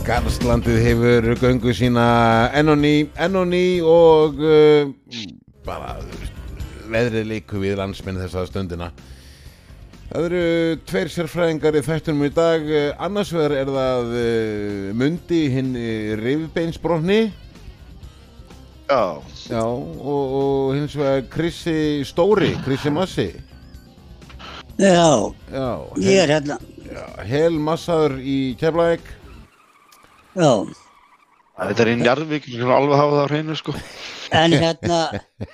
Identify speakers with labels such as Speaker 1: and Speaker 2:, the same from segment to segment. Speaker 1: Íslandið hefur göngu sína enn og ný, enn og ný og uh, bara veðrið líku við landsminn þessa stundina. Það eru tveir sérfræðingar í þættunum í dag, eh, annars vegar er það uh, Mundi hinn uh, rifbeinsbrotni
Speaker 2: Já,
Speaker 1: já, og, og hins vegar Krissi Stóri, Krissi Massi.
Speaker 3: Já,
Speaker 1: Já,
Speaker 3: ég er hérna.
Speaker 1: já, hel massaður í Keflavík.
Speaker 3: Já,
Speaker 2: þetta er í Njarðvík, við skulum alveg hafa það á hreinu sko.
Speaker 3: en hérna,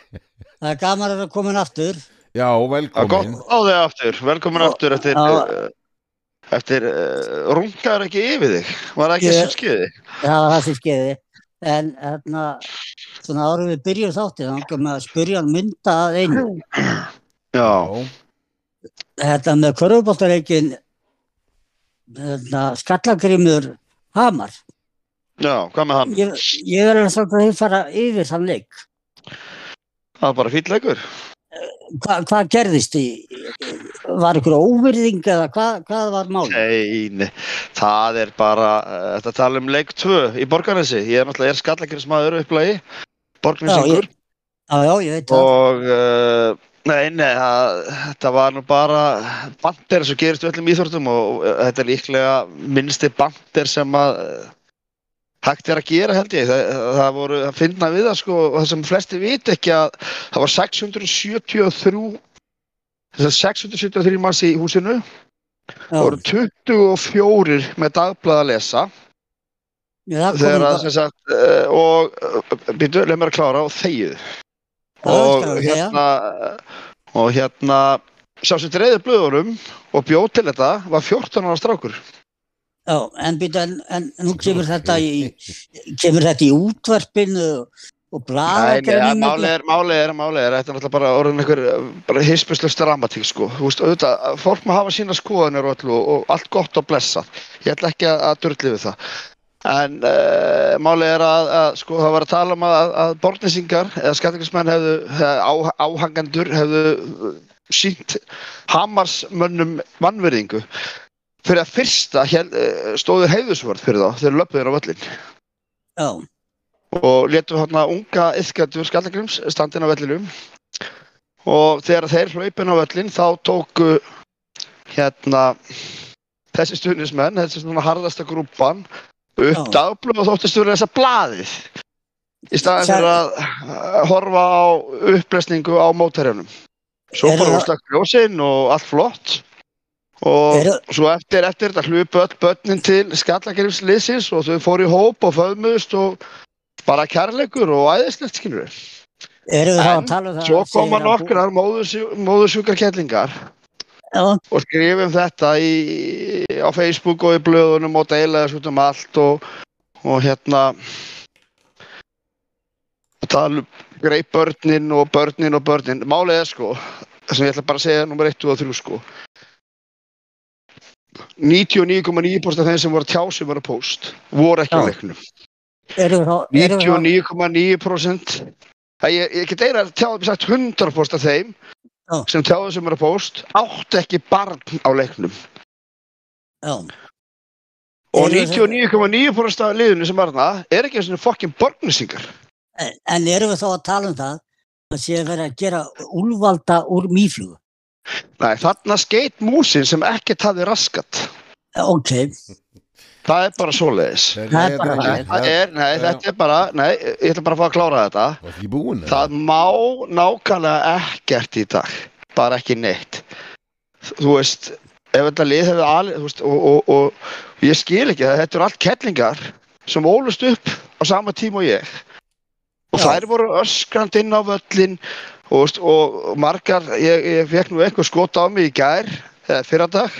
Speaker 3: það er gaman að vera komin aftur.
Speaker 1: Já,
Speaker 2: Það er
Speaker 1: velkomin.
Speaker 2: Ah, gott á þig aftur, velkomin aftur eftir,
Speaker 3: Já.
Speaker 2: uh, eftir uh, rungaður ekki yfir þig, var það ekki
Speaker 3: Ég-
Speaker 2: sem skeiði?
Speaker 3: Það var það sem skeiði. En hérna, svona árum við byrjum þáttið, þá komum við að spyrja hann mynda að einu.
Speaker 2: Já,
Speaker 1: Já,
Speaker 3: Þetta með korfuboltareikin, hérna, skallagrimur Hamar.
Speaker 2: já, hvað með hann?
Speaker 3: Ég, ég er alveg svolítið að þið fara yfir þann leik.
Speaker 2: Það er bara fýll leikur.
Speaker 3: Hva, hvað gerðist í, var ykkur óvirðing eða hvað, hvað var málið?
Speaker 2: Nei, nei, það er bara, uh, þetta tala um leik 2 í Borgarnesi, ég er náttúrulega, ég er skallakrinsmaður upplagi, Borgarnesingur.
Speaker 3: ég, já, já, ég veit það.
Speaker 2: og uh, nei, nei, það, þetta var nú bara bandir sem gerist í öllum íþórtum og uh, þetta er líklega minnsti bandir sem að uh, hægt er að gera held ég það, það voru að finna við það sko og það sem flesti vit ekki að það var 673 þess að 673 manns í húsinu
Speaker 3: Já,
Speaker 2: voru 24 með dagblað að lesa
Speaker 3: já, það kom
Speaker 2: þegar
Speaker 3: bara-
Speaker 2: að sem sagt, uh, og byrju, leið mér að klára og þegið og
Speaker 3: hérna,
Speaker 2: hérna og hérna sá sem dreifði blöðunum og bjóð til þetta var 14 ára strákur
Speaker 3: já, en, býta, en, en nú kemur þetta í, kemur þetta í útvarpinu og
Speaker 2: Nei, nei, að
Speaker 3: bladagrænum
Speaker 2: málið er, málið er, málið er þetta er náttúrulega bara orðin einhver eh, bara hispuslega dramatík sko Þú veist, auðvitað, að fólk má hafa sína skoðanir og, öllu og, og allt gott og blessað ég ætla ekki að, að durli við það en uh, málið er að, að sko það var að tala um að, að borgnesingar eða skattingismenn hefðu eh, á, áhangendur hefðu eh, sínt hamarsmönnum vannverðingu fyrir að fyrsta hér, eh, stóðu heiðusvörð fyrir þá þegar löpuðin á völlin
Speaker 3: já,
Speaker 2: og letum hérna unga yfkjöndur Skallagrims standin á vellinum og þegar þeir hlaupin á vellin þá tóku hérna þessi stuðnismenn, þessi svona harðasta grúpan upp
Speaker 3: Já.
Speaker 2: dagblöð og þóttist fyrir þessa blaðið í staðin
Speaker 3: Sær-
Speaker 2: fyrir að eh, horfa á upplesningu á mótarjánum svo
Speaker 3: Eru
Speaker 2: bara
Speaker 3: það-
Speaker 2: hún slakk ljósinn og allt flott og
Speaker 3: Eru-
Speaker 2: svo eftir, eftir þetta hlupu öll börnin til skallagrims liðsins og þau fóru í hóp og föðmuðust og bara kærleikur og æðislegt skilur við.
Speaker 3: eru við þá að
Speaker 2: En
Speaker 3: tala um það
Speaker 2: Svo
Speaker 3: að segja
Speaker 2: koma
Speaker 3: að bú-
Speaker 2: nokkrar móðursjúkar kellingar
Speaker 3: já,
Speaker 2: og skrifum þetta í, á Facebook og í blöðunum og deila þessu út um allt og, og hérna tala um greip börnin og börnin og börnin málið er sko, það sem ég ætla bara að segja nummer 1 og 3 sko 99,9% af þeim sem voru að tjá sem voru að post voru ekki á
Speaker 3: Já.
Speaker 2: leiknum
Speaker 3: eru við þá eru við þá-
Speaker 2: 99,9% Æ, ég, ég get eiginlega tjáðum sagt 100% af þeim
Speaker 3: Já.
Speaker 2: sem tjáðum sem eru að post áttu ekki barn á leiknum
Speaker 3: já,
Speaker 2: og
Speaker 3: Eru þeir-
Speaker 2: 99,9% af liðinu sem var þarna er ekki eins og fokkin borgnisingar
Speaker 3: en- en eru við þá að tala um það að sé að vera að gera úlvalda úr mýflugu
Speaker 2: Nei, þarna skeit músin sem ekkert hafði raskat
Speaker 3: ok,
Speaker 2: það er bara svoleiðis
Speaker 1: Nei,
Speaker 3: Það er
Speaker 1: þetta
Speaker 3: bara-
Speaker 1: ekki-
Speaker 2: Nei, það er, nei,
Speaker 1: Já.
Speaker 2: þetta er bara nei, ég ætla bara að fá að klára þetta
Speaker 1: Það er ekki búin eða?
Speaker 2: Það má nákvæmlega ekkert í dag, bara ekki neitt. Þú veist, ef þetta lið hefði alveg, þú veist, og, og, og ég skil ekki það, þetta eru allt kettlingar sem ólust upp á sama tíma og ég. Og
Speaker 3: Já.
Speaker 2: þær voru öskrand inn á völlin og, þú veist, og og margar, ég, ég fekk nú eitthvað skot á mig í gær, eða fyrradag,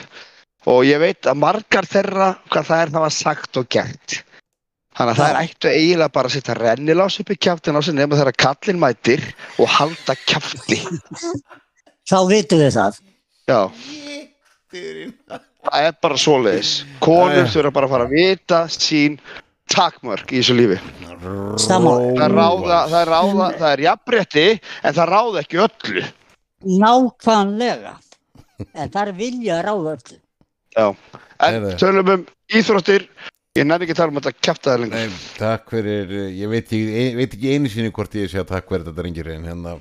Speaker 2: og ég veit að margar þeirra, hvað það er það var sagt og gert. Þannig að það er ættu eiginlega bara að setja rennilás upp í kjaftin á sig nema þegar kallinn mætir og halda kjafti.
Speaker 3: þá vitum við það
Speaker 2: Já, það er bara svoleiðis. Konur
Speaker 1: Jæja.
Speaker 2: þurfa bara að fara að vita sín takmörk í þessu lífi.
Speaker 3: Sammála.
Speaker 2: Það ráða, það er ráða, það er jafnrétti en það ráða ekki öllu.
Speaker 3: nákvæmlega en þar vilja ráða öllu
Speaker 2: Já, en
Speaker 1: Heyrðu.
Speaker 2: tölum um íþróttir Ég nefn ekki að tala um þetta kjæfta það lengur.
Speaker 1: Nei, takk fyrir, eh, ég veit ekki, ég veit ekki einu sinni hvort ég sé að takk fyrir þetta rengir en hérna,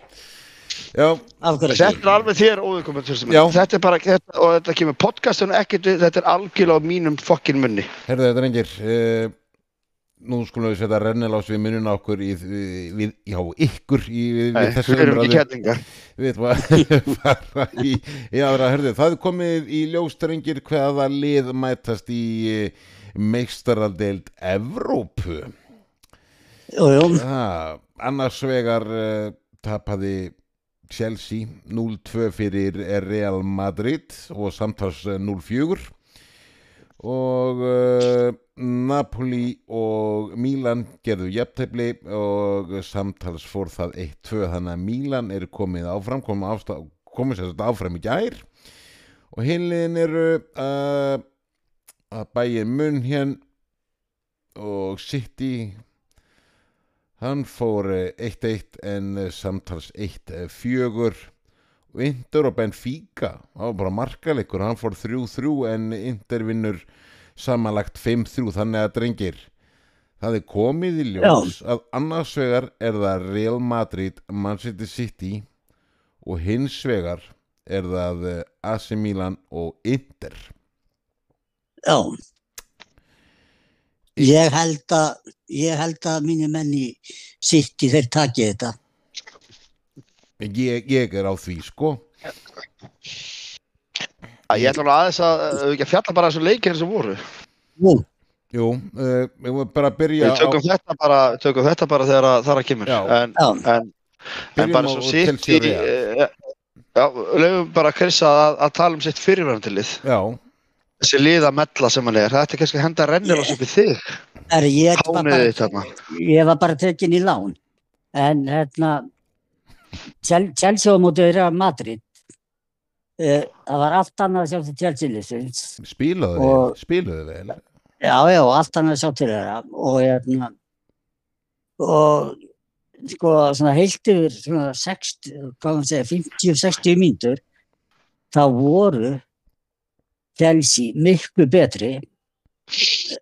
Speaker 1: já,
Speaker 3: af hverju ekki?
Speaker 2: Þetta er alveg þér óðurkomandi fyrstu
Speaker 1: Já.
Speaker 2: minn. Þetta er bara, þetta, og þetta kemur podcastinu ekkert, við, þetta er algjörlega á mínum fokkin munni.
Speaker 1: herðu þetta rengir, uh, nú skulum við setja rennilás við mununa okkur í, við, já, ykkur í, við,
Speaker 2: Nei,
Speaker 1: við
Speaker 2: Við
Speaker 1: þessu
Speaker 2: erum ekki hérna. kjætlingar.
Speaker 1: við ætlum að fara í, í aðra hörðu, það er komið í ljóstrengir hvaða lið mætast í e, meistaradeild Evrópu
Speaker 3: Jú, jú,
Speaker 1: það, annars vegar uh, tapaði Chelsea 0-2 fyrir eh, Real Madrid og samtals eh, 0-4 og uh, Napoli og Milan gerðu jafntefli og samtals fór það 1-2 þannig að Milan er komið áfram komið, ásta, komið sér þetta áfram í gær og hinliðin eru uh, að bæja munn hér og City Hann fór eh, 1-1 en eh, samtals 1-4 og Inter og Benfica það var bara markalegur, hann fór 3-3 en Inter vinnur samanlagt 5-3 þannig að drengir það er komið í ljós að annars vegar er það Real Madrid Manchester City og hins vegar er það eh, AC Milan og Inter
Speaker 3: já. Ég held að, ég held að mínir menni sitt í þeir takið þetta.
Speaker 1: ég, ég er á því sko
Speaker 2: Ég ætla nú aðeins að, ef við ekki að fjalla bara þessu leikir sem voru.
Speaker 3: Jú,
Speaker 1: Jú, uh, ég var bara að byrja
Speaker 2: Við tökum þetta bara, tökum þetta bara þegar að þar að kemur.
Speaker 1: Já.
Speaker 2: En,
Speaker 3: já,
Speaker 2: en,
Speaker 1: Byrjum
Speaker 2: en bara
Speaker 1: á-
Speaker 2: svo
Speaker 1: á
Speaker 2: sitt
Speaker 1: Chelsea
Speaker 2: í,
Speaker 1: og Real.
Speaker 2: eh, já, lögum bara að Krissa að, að tala um sitt fyrirverðandilið.
Speaker 1: Já,
Speaker 2: Þessi liða mella sem hann er, þetta er kannski að henda rennir yeah. upp í þig.
Speaker 3: er, ég, var
Speaker 2: Hánuðið
Speaker 3: bara,
Speaker 2: þitt þarna.
Speaker 3: ég var bara tekin í lán. En hérna, Chel- Chelsea á móti Real Madrid, uh, það var allt annað að sjá til Chelsea-lýsins.
Speaker 1: spílaðu vel,
Speaker 3: Og-
Speaker 1: spílaðu vel
Speaker 3: Já, já, allt annað sjá til þeirra og hérna og sko svona heilt yfir svona 60, hvað maður segja, 50-60 mínútur þá voru Chelsea miklu betri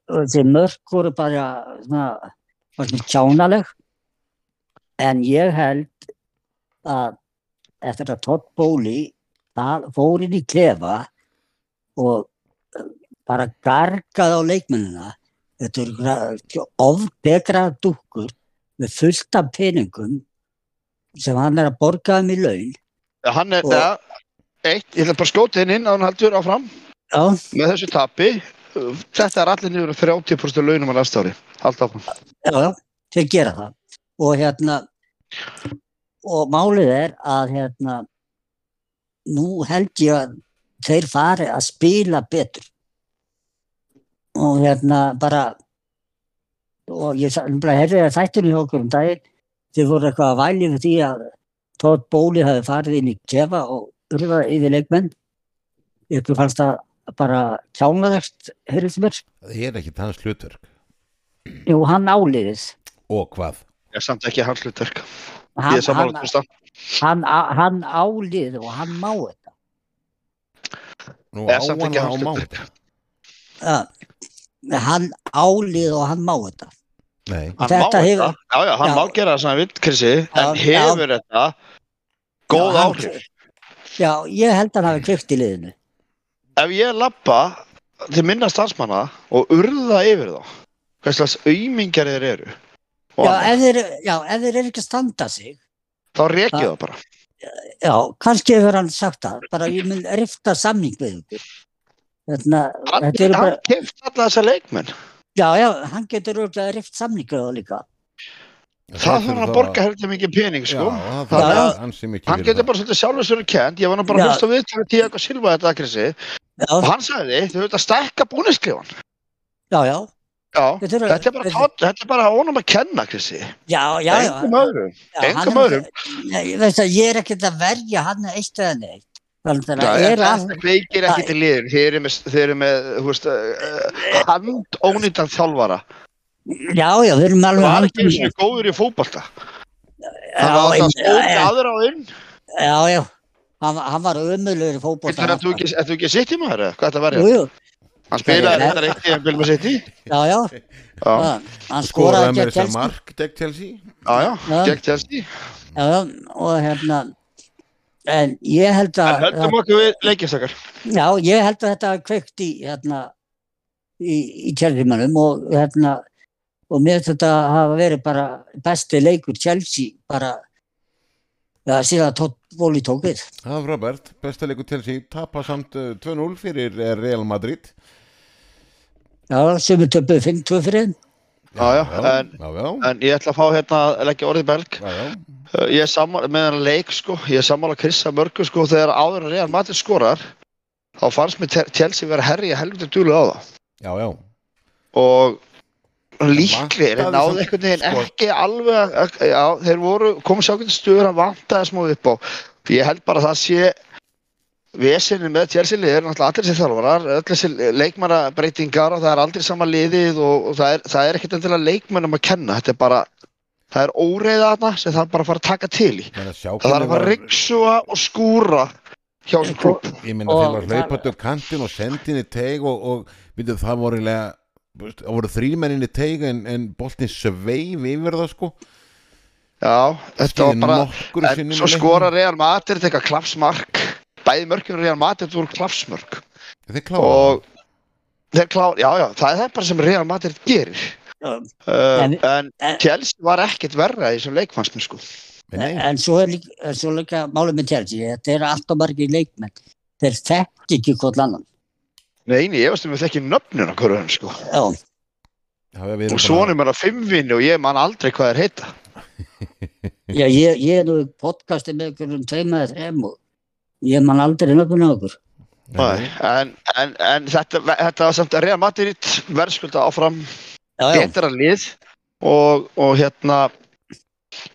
Speaker 3: og þeir mörg voru bara svona, var svona kjánaleg en ég held að eftir að Todd Bóli fór inn í klefa og bara gargað á leikmennina þetta eru ofbegra dúkkur með fullt af peningum sem hann er að borga um í laun
Speaker 2: Hann er,
Speaker 3: Og-
Speaker 2: neða, eitt, ég ætla bara að skjóta henni inn að hann heldur áfram.
Speaker 3: já,
Speaker 2: með þessu tapi uh, þetta er allir niður um 30% launum á næsta ári Halda áfram.
Speaker 3: já, já, þeir gera það og hérna og málið er að hérna nú held ég að þeir fari að spila betur og hérna bara og ég sa- bara herði að þættunni okkur um daginn þeir voru eitthvað að væli fyrir því að Todd Bóli hafi farið inn í kefa og urðað yfir leikmenn ykkur fannst það bara kjánaðast, heyrðist mér
Speaker 1: Það er ekki hans hlutverk
Speaker 3: jú, hann áliðis
Speaker 1: Og hvað?
Speaker 2: Ég er samt ekki hans hlutverk ég
Speaker 3: hann,
Speaker 2: er sammála
Speaker 3: hann,
Speaker 2: Trausta.
Speaker 3: hann, hann álið og hann má þetta
Speaker 1: Nú
Speaker 2: Er
Speaker 1: á
Speaker 2: samt
Speaker 1: hann
Speaker 2: ekki
Speaker 1: á
Speaker 2: hans
Speaker 1: máta
Speaker 3: ja, hann álið og hann má þetta
Speaker 1: Nei,
Speaker 2: hann
Speaker 3: Þetta
Speaker 2: má
Speaker 3: hefur-
Speaker 2: þetta, já, já, hann
Speaker 3: Já.
Speaker 2: má gera það sem hann vill Krissi, en
Speaker 3: Já,
Speaker 2: hefur þetta góð
Speaker 3: Já, hann-
Speaker 2: áhrif
Speaker 3: já, ég held að hann hafi kveikt í liðinu
Speaker 2: ef ég lappa til minna starfsmanna og urða yfir þá hvað slags aumingar þeir eru og
Speaker 3: já
Speaker 2: annað,
Speaker 3: ef, þeir, já, ef þeir eru ekki að standa sig
Speaker 2: þá rekið
Speaker 3: það-
Speaker 2: það bara
Speaker 3: já, kannski hefur hann sagt það bara ég mun rifta samning við ykkur Þarna,
Speaker 2: hann,
Speaker 3: þetta eru bara
Speaker 2: hann keft alla þessa leikmenn
Speaker 3: já, já, hann getur örugglega rift samning við það líka
Speaker 2: það þarf hann að borga heldur mikið pening sko.
Speaker 1: Já,
Speaker 2: Þannig
Speaker 1: það er
Speaker 2: að-
Speaker 1: hans sem ekki
Speaker 2: hann getur bara svolítið sjálfur sér kent ég var nú bara
Speaker 3: Já.
Speaker 2: að hlusta við til að silfa þetta Krissi Og
Speaker 3: já,
Speaker 2: hann sagði, þau höfðu að stækka búniskrifan.
Speaker 3: já, já
Speaker 2: Já,
Speaker 3: Þeir þurfa-
Speaker 2: þetta er bara,
Speaker 3: þeir-
Speaker 2: tótt, þetta er bara honum að kenna, Krissi.
Speaker 3: já, já, já,
Speaker 2: Engum öðrum.
Speaker 3: já
Speaker 2: engum
Speaker 3: hann er-
Speaker 2: öðrum.
Speaker 3: Nei, ég, veist að, ég er ekkert að verja hann eitt eða neitt þannig að
Speaker 2: Já,
Speaker 3: það
Speaker 2: en
Speaker 3: er all
Speaker 2: Þetta veikir ekki til liðin. Þeir eru með, þeir eru með, hú veist, uh, handónýtan þjálfara.
Speaker 3: Já, já, við erum
Speaker 2: Það
Speaker 3: alveg
Speaker 2: var ekki
Speaker 3: handbúnir.
Speaker 2: eins og góður í fótbolta. Það var
Speaker 3: já,
Speaker 2: alltaf skóti
Speaker 3: já,
Speaker 2: aðra á inn.
Speaker 3: já, já, hann, hann var ömulur í fótbolta.
Speaker 2: Þetta er að þú ekki, ert þú ekki sitt í maður, eða hvað þetta
Speaker 3: Jú,
Speaker 2: verið?
Speaker 3: jú,
Speaker 2: Hann spilaði þetta eitt í enn Bilma City.
Speaker 3: já, já,
Speaker 2: Já,
Speaker 3: já, hann skoraði
Speaker 1: skoraði með
Speaker 3: gegn
Speaker 1: þess að
Speaker 3: Chelsea
Speaker 1: mark gegn Chelsea
Speaker 2: já, já,
Speaker 3: Já.
Speaker 2: gegn Chelsea.
Speaker 3: já, já, og hérna en ég held
Speaker 2: En
Speaker 3: að
Speaker 2: höldum okkur við leikjastakar.
Speaker 3: já, ég held að þetta hafi kveikt í hérna í, í Chelsea-mannum og hérna og mér finnst þetta hafa verið bara besti leikur Chelsea bara já, síðan tótt voli tók við
Speaker 1: það var Robert, besta leikur Chelsea tapa samt eh, 2-0 fyrir eh, Real Madrid
Speaker 3: já, sem er töpuð 5-2 fyrir þeim.
Speaker 2: Já, já,
Speaker 1: já,
Speaker 2: en-
Speaker 1: já, já,
Speaker 2: En ég ætla að fá hérna að leggja orðið belg.
Speaker 1: já, já.
Speaker 2: Uh, Ég er sammála með hann leik sko, ég er sammála Krissa mörgu sko þegar áður en Real Madrid skorar þá fannst mér Te- Chelsea vera herri að helviti djúlu á það
Speaker 1: já, já.
Speaker 2: og
Speaker 1: Vantaði
Speaker 2: líklegir þeir náðu
Speaker 1: samt
Speaker 2: einhvern veginn
Speaker 1: skot.
Speaker 2: ekki alveg að- að- já, þeir voru, komu sér ákveðin stöður hann vantaði smá upp á ég held bara að það sé vesinni með Chelsea liðið er náttúrulega allir sér þjálfarar öll þessi leikmannabreitingar og það er aldrei sama liðið og, og það er, það er ekkert endilega leikmannum að kenna þetta er bara, það er óreiða þarna sem það er bara að fara að taka til í
Speaker 1: Menna,
Speaker 2: Það þarf að fara að ryggsúa og skúra hjá þessum klub.
Speaker 1: ég minna
Speaker 3: Og
Speaker 1: þeir var
Speaker 3: það-
Speaker 1: hlaupandi upp kantinn og sendin í teig og, og myndið það voru lega það voru þrýmennin í teig en, en boltin sveif yfir það sko
Speaker 2: Já, þetta var
Speaker 1: Skýði
Speaker 2: bara,
Speaker 1: nokkru
Speaker 2: en
Speaker 1: sinnum í
Speaker 2: svo
Speaker 1: leiknum.
Speaker 2: skora Real Madrid eitthvað klapsmark. Bæði mörkjum Real Madrid voru klapsmörk.
Speaker 1: þeir klára
Speaker 2: Og þeir klár, já, já, það er það bara sem Real Madrid gerir.
Speaker 3: Um,
Speaker 2: Uh,
Speaker 3: En-
Speaker 2: en
Speaker 3: en-
Speaker 2: Chelsea var ekkert verra í þessum leikmannsmið, sko.
Speaker 1: en nei,
Speaker 3: en svo er líka, en svo er líka málið með Chelsea, þetta eru alltaf margir leikmenn þeir þekkt ekki hvort annan
Speaker 2: Nei, eini, ég veist um við þekki nöfnun á hverjum, sko.
Speaker 3: já,
Speaker 1: hafa við
Speaker 2: Og
Speaker 1: bara-
Speaker 2: svonum er að fimmvinni og ég man aldrei hvað þeir heita.
Speaker 3: já ég, ég er nú í podcasti með ykkur um tveima eða þreim og ég man aldrei nöfnum á okkur
Speaker 1: Nei,
Speaker 2: En, en, en þetta, þetta var samt að Real Madrid verðskulda áfram
Speaker 3: já, já,
Speaker 2: betra lið og, og hérna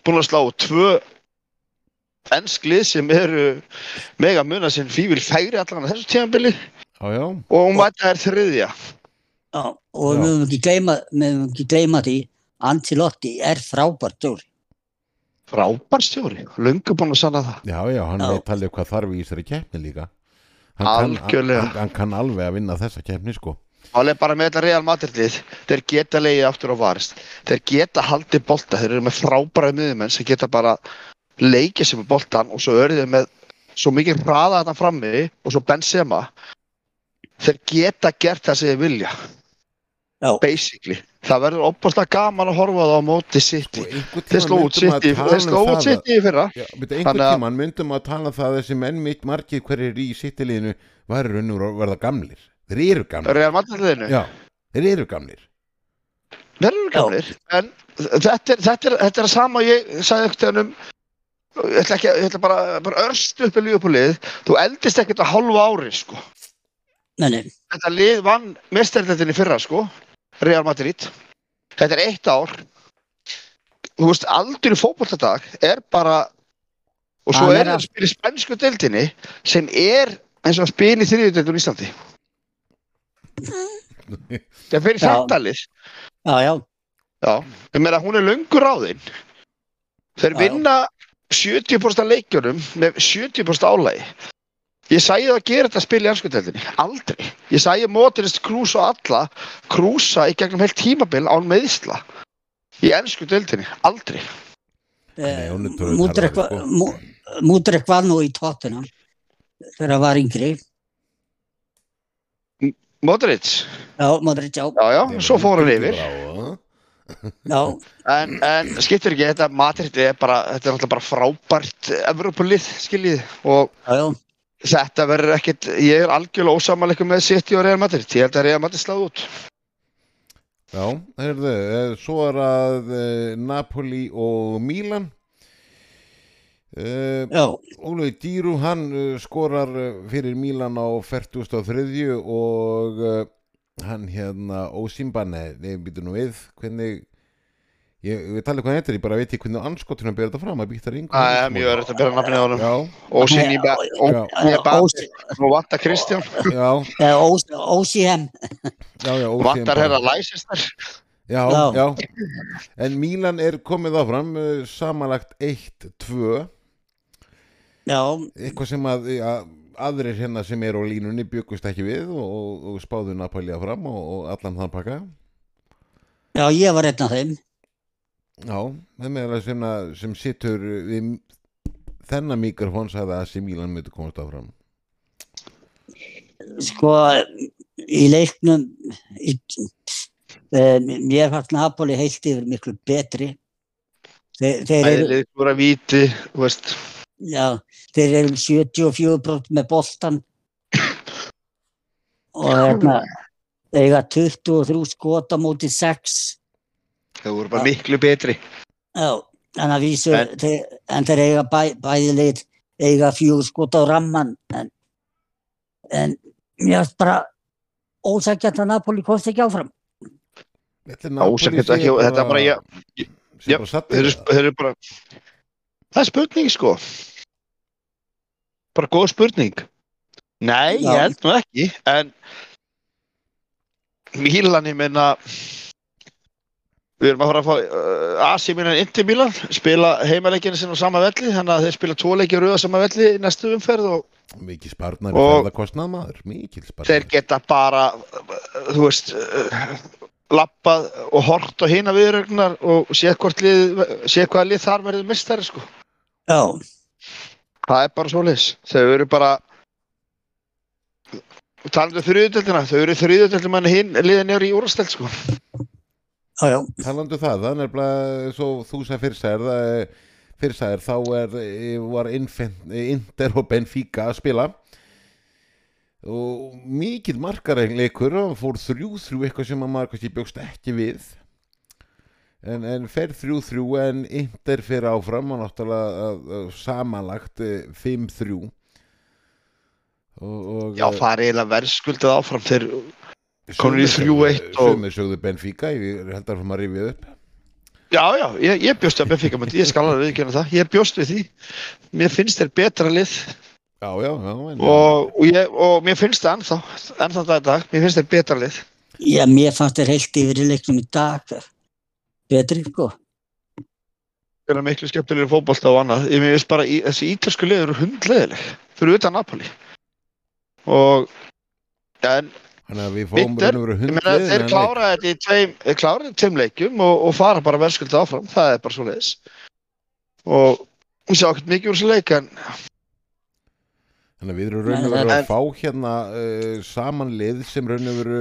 Speaker 2: búin að slá tvö ennsk lið sem eru mega muna sinn fývil færi allan á þessu tímanbili
Speaker 1: já, já,
Speaker 2: og hún mæta er þriðja
Speaker 3: já og við
Speaker 1: Já.
Speaker 3: höfum ekki gleyma við höfum ekki gleyma því Antilotti er frábært úr
Speaker 2: frábær stjóri, löngu búin að sanna það
Speaker 1: já, já, hann
Speaker 3: Já.
Speaker 1: veit alveg hvað þarf í þessari keppni líka hann kann,
Speaker 2: Algjörlega.
Speaker 1: hann, hann kann alveg að vinna þessa keppni sko
Speaker 2: Það er bara með þetta Real Madrid lið þeir geta leiðið aftur á varist þeir geta haldið bolta, þeir eru með frábæra miðumenn sem geta bara leikið sem er boltan og svo eru þeir með svo mikið hraða þarna frammi og svo Benzema þeir geta gert það sem þeir vilja
Speaker 3: já,
Speaker 2: basically það verður opaslega gaman að horfa á það á móti
Speaker 1: Sko,
Speaker 2: City þeir sló út City þeir
Speaker 1: um
Speaker 2: sló út City í fyrra
Speaker 1: Já, betur einhvern
Speaker 2: Þannig að-
Speaker 1: tíman myndum að tala um það að þessi menn mitt margir hverjir í sittiliðinu væri raunur að verða gamlir þeir eru gamlir
Speaker 2: Real Madrid liðinu
Speaker 1: já, þeir eru gamlir
Speaker 2: þeir eru gamlir en þetta er, þetta, er, þetta er að sama og ég sagði ekkert um ég ætla, ekki, að- ég ætla bara, bara örst upp í lífupúlið þú eldist ekkert að hálfu ári sko.
Speaker 3: menni,
Speaker 2: þetta lið vann mestarleitinni fyrra sko Real Madrid þetta er eitt ár þú veist aldur í fótbolltadag er bara og svo
Speaker 3: Hann er
Speaker 2: er það
Speaker 3: að-
Speaker 2: að spila í spænsku deildinni sem er eins og að spila í þriðju deildun í Íslandi það fyrir
Speaker 3: Já.
Speaker 2: þetta lið
Speaker 3: já, já,
Speaker 2: já, ég meina hún er löngu ráðinn þeir
Speaker 3: Já, já.
Speaker 2: vinna 70% af leikjunum með 70% álægi ég sagði það að gera þetta að spila í ennsku deildinni aldrei, ég sagði mótinist krús og alla krúsa í gegnum heilt tímabil án meðisla í ennsku deildinni, aldrei
Speaker 1: Nei, hún er tölvöld
Speaker 3: Múdrek
Speaker 1: harðari,
Speaker 3: var-
Speaker 1: sko.
Speaker 3: Mú- Múdrek var nú í tóttunum þegar hann var yngri
Speaker 2: Modric,
Speaker 3: já, Múdrek, já,
Speaker 2: já já, svo fór hann yfir
Speaker 1: já,
Speaker 3: já,
Speaker 2: en, en skiptir ekki, þetta Madrid er bara, þetta er náttúrulega bara frábært Evropalið, skiljið og
Speaker 3: já, já.
Speaker 2: þetta verður ekkit, ég er algjörlega ósamalekum með City og Real Madrid, ég held að Real Madrid sláð út
Speaker 1: heyrðu eh, svo er að eh, Napoli og Milan Uh,
Speaker 3: já.
Speaker 1: Ólaugur Dýru hann uh, skorar uh, fyrir Mílan á 43 og uh, hann hérna Ósimbane, nefn býtur nú við hvernig ég, ég tala hvað hann heitir, ég bara veit ekki hvernig anskotunum ber þetta fram, að býta ringu
Speaker 2: Það er mjög öryggt að bera nafnið á honum
Speaker 1: Já,
Speaker 2: og sinni
Speaker 3: Já, já,
Speaker 1: já.
Speaker 2: og nú vantar Kristján
Speaker 1: já,
Speaker 3: Já, Ós- Ósíhem
Speaker 1: já, já
Speaker 2: vantar
Speaker 1: Osimhen.
Speaker 2: herra Leicester
Speaker 1: já,
Speaker 3: Já.
Speaker 1: já, en Mílan er komið áfram uh, samanlagt 1-2
Speaker 3: já,
Speaker 1: eitthvað sem að ja, aðrir hérna sem eru á línunni byggust ekki við og, og, og spáðu Napolja fram og, og allan þann pakka
Speaker 3: Já, ég var einn af þeim.
Speaker 1: Já, það með það sem, að- sem situr við þennan mikrofón sagði að Simílan myndi komast áfram
Speaker 3: Sko, í leiknum, í, um, mér fannst Napoli heilt yfir miklu betri. Þe, þeir, eru,
Speaker 2: Æðlið voru að víti, þú veist.
Speaker 3: já, þeir eru um 74% með boltan og hérna, eiga 23 skota móti 6.
Speaker 2: Þau voru bara miklu betri.
Speaker 3: Já, þannig að vísu,
Speaker 2: En-
Speaker 3: þeir, en þeir eiga bæ, bæðilegir, eiga fjögur skot á ramman, en, en mér finnst bara ósækjant að Napoli komst ekki áfram.
Speaker 1: Þetta er
Speaker 2: Ásakjönd ekki, þetta er bara, ja,
Speaker 1: sem
Speaker 2: já,
Speaker 1: bara satt
Speaker 2: þeir, eru, þeir eru bara, það er spurning sko. Bara góð spurning. Nei,
Speaker 3: Já.
Speaker 2: ég held nú ekki, en Mílan, ég meina, við erum að fara að fá uh, AC Mílan Inti Mílan, spila heimaleikinu sinna á sama velli, þannig að þeir spila tvo leiki rauð á sama velli í næstu umferð og
Speaker 1: Mikið sparnar í
Speaker 2: Og-
Speaker 1: ferðakostnað maður Mikið
Speaker 2: þeir
Speaker 1: sparnar
Speaker 2: geta bara uh, þú veist uh, lappað og hort á hina viðrögnar og sé hvort lið sé hvaða lið þar verður mistari sko
Speaker 3: Já,
Speaker 2: það er bara svoleiðis þau eru bara og talandi um þriðutöldina þau eru þriðutöldin mann hinn liðin eru í úrasteld sko
Speaker 3: já, já,
Speaker 1: Talandu um það, það er nefnilega svo þú sem fyrst sagðir það er- fyrst sagðir þá er, eh, var Infen- Inter og Benfica að spila og mikið markareileikur og hann fór 3-3 eitthvað sem að maður kannski bjókst ekki við en, en fer 3-3 en Inter fer áfram og náttúrulega að, að, samanlagt eh, 5-3 og, og eh,
Speaker 2: já það er eiginlega verðskuldað áfram þeir Komnir í 3-1 og-
Speaker 1: Sumir sögðu Benfica, ég held að það maður rifið upp
Speaker 2: já já ég, ég bjóst við að Benfica myndi ég skal alveg viðkjöna það ég bjóst við því mér finnst þeir betra lið
Speaker 1: Já, já, já en,
Speaker 2: og, og, ég, og mér finnst það ennþá ennþá það dag mér finnst þeir betra lið
Speaker 3: já, mér fannst þeir heilt yfir í leiknum í dag betri, sko.
Speaker 2: spila miklu skemmtilegri fótbolta og annað ég mér veist bara, í, þessi ítalsku lið eru hundleðileg fyrir utan Napoli og en
Speaker 1: Þannig að við fáum
Speaker 2: Bitter,
Speaker 1: raun og veru
Speaker 2: ég
Speaker 1: hundlið
Speaker 2: meina þeir klára þetta í tveim, þeir klára þetta í tveim leikjum og, og fara bara verðskulda áfram, það er bara svo leiðis og ég sá ekkert mikið úr þessu leik en
Speaker 1: Þannig að við erum raun og
Speaker 3: Nei,
Speaker 1: veru að
Speaker 2: en-
Speaker 1: fá hérna uh, saman lið sem raun og veru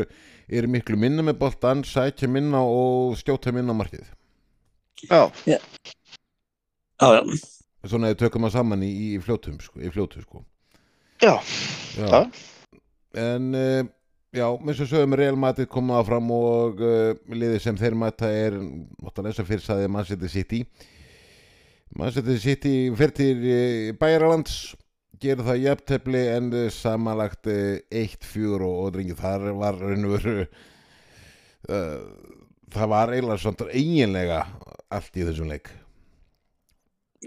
Speaker 1: er miklu minna með boltan, sækja minna og skjóta minna á markið
Speaker 2: já,
Speaker 3: Já, já,
Speaker 1: Svona að við tökum að saman í, í fljótum sko, í fljótu sko
Speaker 2: já,
Speaker 1: Já,
Speaker 2: Já.
Speaker 1: En uh, já, eins og sögum Real Madrid komið áfram og uh, liðið sem þeir mæta er óttan eins og fyrst sagði Man City City Man City City fer til uh, Bæjaralands gerir það jafntefli en uh, samanlagt uh, 1-4 og, og drengi þar var raunur uh, eh, það var eiginlega svona eiginlega allt í þessum leik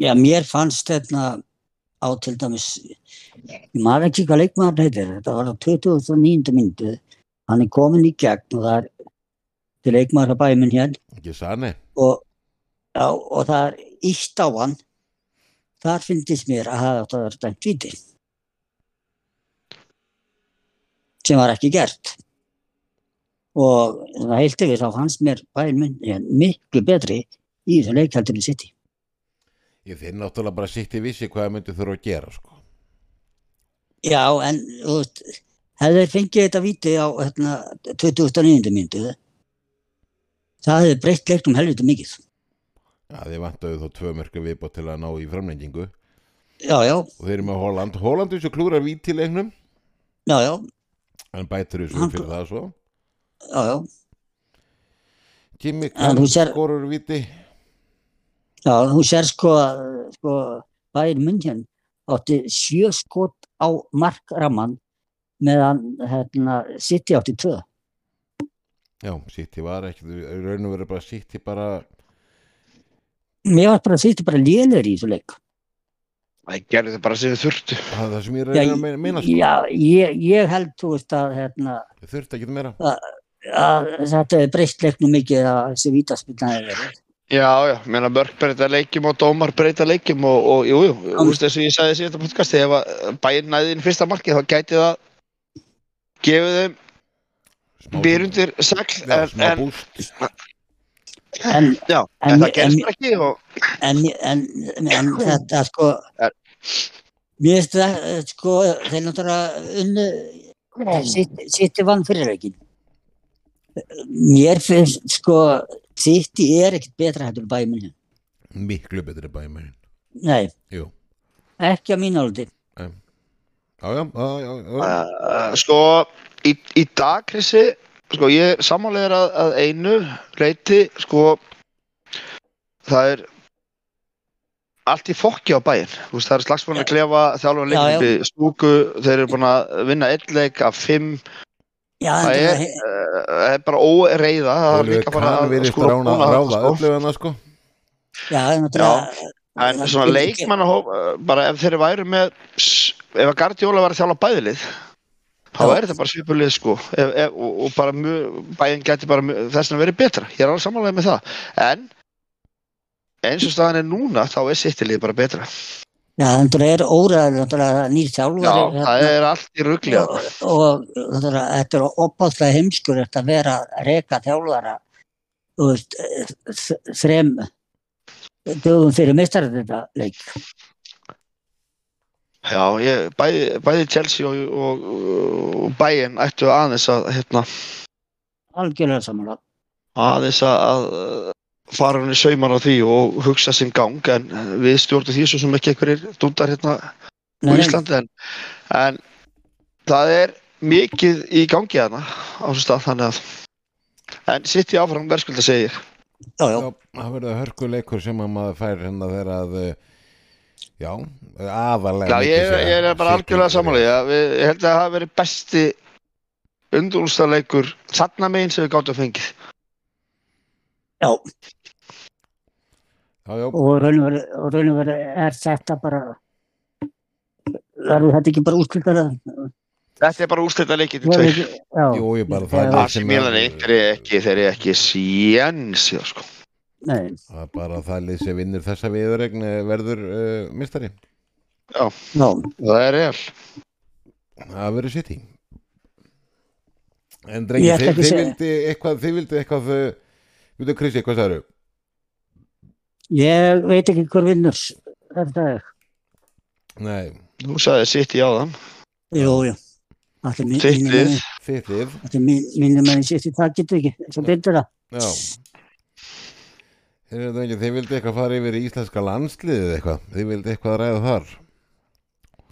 Speaker 3: já, mér fannst þetta á til dæmis, ég maður ekki hvað leikmaður heitir, þetta var á 29. myndu, hann er komin í gegn og það er til leikmaður að bæminn hér
Speaker 1: ekki sani
Speaker 3: og, já, og það er ítt á hann þar fyndist mér að hafa átt að vera dæmt viti sem var ekki gert og það heilt yfir þá fannst mér bæinn minn miklu betri í þessu leikaldinu sitt
Speaker 1: ég þeir náttúrulega bara sitt í vissi hvað það myndi þurfa að gera sko
Speaker 3: já en þú veist hefði þeir fengið þetta viti á hérna, 2009. myndu það hefði breytt leiknum helviti mikið
Speaker 1: Já, þeir vantaðu þá tvö mörku viðbót til að ná í framlengingu og
Speaker 3: já já,
Speaker 1: þeir eru með Holland Holland þessu klúrar vítilegnum
Speaker 3: já já,
Speaker 1: en bætur þessu
Speaker 3: Hann-
Speaker 1: fyrir það svo
Speaker 3: já, já.
Speaker 1: Kimi
Speaker 3: En
Speaker 1: Kahn
Speaker 3: þú sér-
Speaker 1: skorur víti
Speaker 3: Já, þú sér sko, sko Bayern München átti sjö skot á markramann meðan hérna, City átti tvö.
Speaker 1: Já, City var ekki, þau raun og verið bara City bara
Speaker 3: Mér var bara City bara lélur í þessu leik.
Speaker 2: það gerði þetta bara sem þau þurftu
Speaker 1: það, það sem ég
Speaker 3: Já,
Speaker 1: reyna að meina- meina sko,
Speaker 3: Já, ég, ég held þú veist að, hérna,
Speaker 1: þau þurfti ekki meira
Speaker 3: að þetta hefur breytt leiknum mikið að þessi vítaspilnaði verið.
Speaker 2: Já, já, ég meina mörg breyta leikjum og dómar breyta leikjum og, og jú, jú, þú veist eins og ég sagði í síðasta podcasti ef að bæinn næði inn fyrsta markið þá gæti það gefið þeim
Speaker 1: Smá-
Speaker 2: byrjundir segl
Speaker 1: Já,
Speaker 2: en,
Speaker 1: smá
Speaker 2: en,
Speaker 1: búst
Speaker 3: en,
Speaker 2: já, en,
Speaker 3: En-
Speaker 2: það gerst ekki og
Speaker 3: en, en, en þetta sko
Speaker 2: Er-
Speaker 3: mér finnst það eh, sko þeir náttúrulega unnu City- City vann fyrirreikin mér finnst sko City er ekkert betra hættur bæminn
Speaker 1: miklu betri bæmærin
Speaker 3: nei,
Speaker 1: Jú,
Speaker 3: ekki á mínu áldi
Speaker 1: já, já, já, já, já.
Speaker 2: uh, sko í, í dag Krissi, sko ég sammálegar að, að einu leiti sko það er allt í fokki á bæinn, þú veist það er slagsbúin að klefa þjálfum
Speaker 3: Já, já.
Speaker 2: leikandi stúku, þeir eru búin að vinna einn leik af fimm
Speaker 3: já,
Speaker 2: Það
Speaker 3: en
Speaker 2: er, eh, það er bara óreiða það er
Speaker 1: Oliver
Speaker 2: líka bara
Speaker 1: Kahn virðist rána
Speaker 2: kúna þarna,
Speaker 1: ráða öllu hana sko
Speaker 3: já, það er náttúrulega
Speaker 2: en svona leikmann bara ef þeir væru með s- ef að Gardiola var að þjála bæðilið þá
Speaker 3: Já.
Speaker 2: er þetta bara svipulið sko ef, ef, og, og bara mjög, bæinn gæti bara mjög, þess að verið betra, ég er alveg samanlega með það en eins og staðan er núna þá er sittilið bara betra já,
Speaker 3: já, það er náttúrulega óræður náttúrulega nýr þjálfari hérna.
Speaker 2: það er allt í rugli
Speaker 3: og, og þetta, þetta er opáðslega heimskur þetta að vera að reka þjálfara þú veist, þ- þrem dögum fyrir mistarðarleik
Speaker 2: já, ég, bæði, bæði Chelsea og, og, og bæinn ættu aðeins að hérna,
Speaker 3: algjörlega samanlega
Speaker 2: aðeins að- að fara hann í sauman á því og hugsa sinn gang en uh, við stjórnum því svo sem ekki einhverjir dundar hérna úr Íslandi en, en það er mikið í gangi hérna á þessu stað þannig að en sitt í áfram verðskulda segi ég
Speaker 3: já, já,
Speaker 1: Já, það verður hörkuleikur sem að maður fær hérna þegar að eh, já, aðalega
Speaker 2: Já, ég, er- ég er bara algjörlega samanlega við, ég held að það hafi verið besti undurúlstarleikur þarna megin sem við gáttum að fengið
Speaker 3: já
Speaker 1: Já, já,
Speaker 3: og raun og veru- og raun og veru er þetta bara verður þetta ekki bara útskildar
Speaker 2: Þetta er bara úrstætta leikið til tveir
Speaker 3: já,
Speaker 1: jú, ég bara það
Speaker 3: Já.
Speaker 1: er
Speaker 2: Asi Milan einhverju ekki, þeir eru ekki séns, já sko
Speaker 3: nei,
Speaker 1: Það er bara það lið sem vinnur þessa viðuregn verður uh, mistari
Speaker 3: já,
Speaker 2: Það er reall
Speaker 1: það verður sitt í en
Speaker 3: Ég
Speaker 1: drengi,
Speaker 3: ætla
Speaker 1: þið,
Speaker 3: ekki
Speaker 1: þið
Speaker 3: að segja.
Speaker 1: vildi eitthvað þið vildi eitthvað eh, veitu Kristi, hvað sagður
Speaker 3: ég veit ekki hver vinnur þetta er,
Speaker 1: Nei,
Speaker 2: Nú sagði sitt í áðan
Speaker 3: jú, jú þetta er mín-
Speaker 2: Þitt
Speaker 3: mínir
Speaker 2: lið.
Speaker 3: menn-
Speaker 1: þitt lið
Speaker 3: þetta er mín- mínir menn sitt í það getur ekki sem bindur það
Speaker 1: Já Heyrðu, drengi, Þið vildi eitthvað fara yfir í íslenska landsliðið eitthvað Þið vildi eitthvað að ræða þar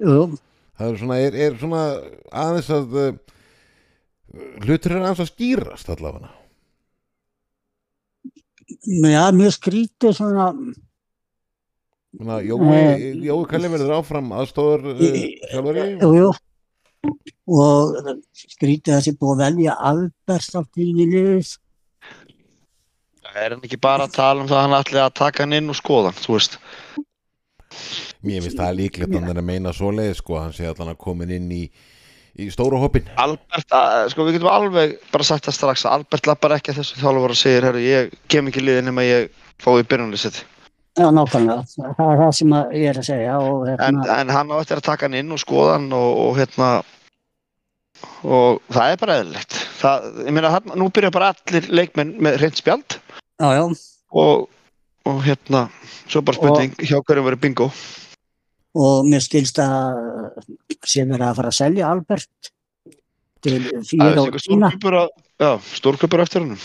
Speaker 3: jú,
Speaker 1: Það er svona, er, er svona aðeins að uh, hlutur er aðeins að skýrast allavega
Speaker 3: Já, mjög skrítið svona,
Speaker 1: Svona,
Speaker 3: Eh,
Speaker 1: Jói, Jói Kalli verður áfram aðstóðar uh,
Speaker 3: Í-
Speaker 1: þjálfari
Speaker 3: jú, jú, og skrítið að sé búið að velja albert allt í liðið,
Speaker 2: Er hann ekki bara að tala um það að hann ætli að taka hann inn og skoða hann, þú veist?
Speaker 1: Mér finnst það líklegt að hann er að meina svoleið sko, hann sé allan að komin inn í, í stóra hoppin
Speaker 2: Albert, að, sko við getum alveg bara sagt það strax að Albert lappar ekki að þessu þjálfur og segir, herru, ég kem ekki liðin nema ég fái byrjunlýsett.
Speaker 3: já nákvæmlega, það er það sem að ég er að segja og
Speaker 2: En,
Speaker 3: hérna,
Speaker 2: en hann á eftir að taka hann inn og skoða hann og, og hérna, og það er bara eðlilegt. Það, ég meina, hann, nú byrja bara allir leikmenn með reynd spjald
Speaker 3: já, já,
Speaker 2: og, og hérna, svo er bara spurning, hjá hverjum verið bingo?
Speaker 3: og mér skilst að sé verið að fara að selja albert til
Speaker 2: Það
Speaker 3: fyrir á
Speaker 2: er eitthvað
Speaker 3: tína,
Speaker 2: stórklubur að, já, stórklubur eftir hann.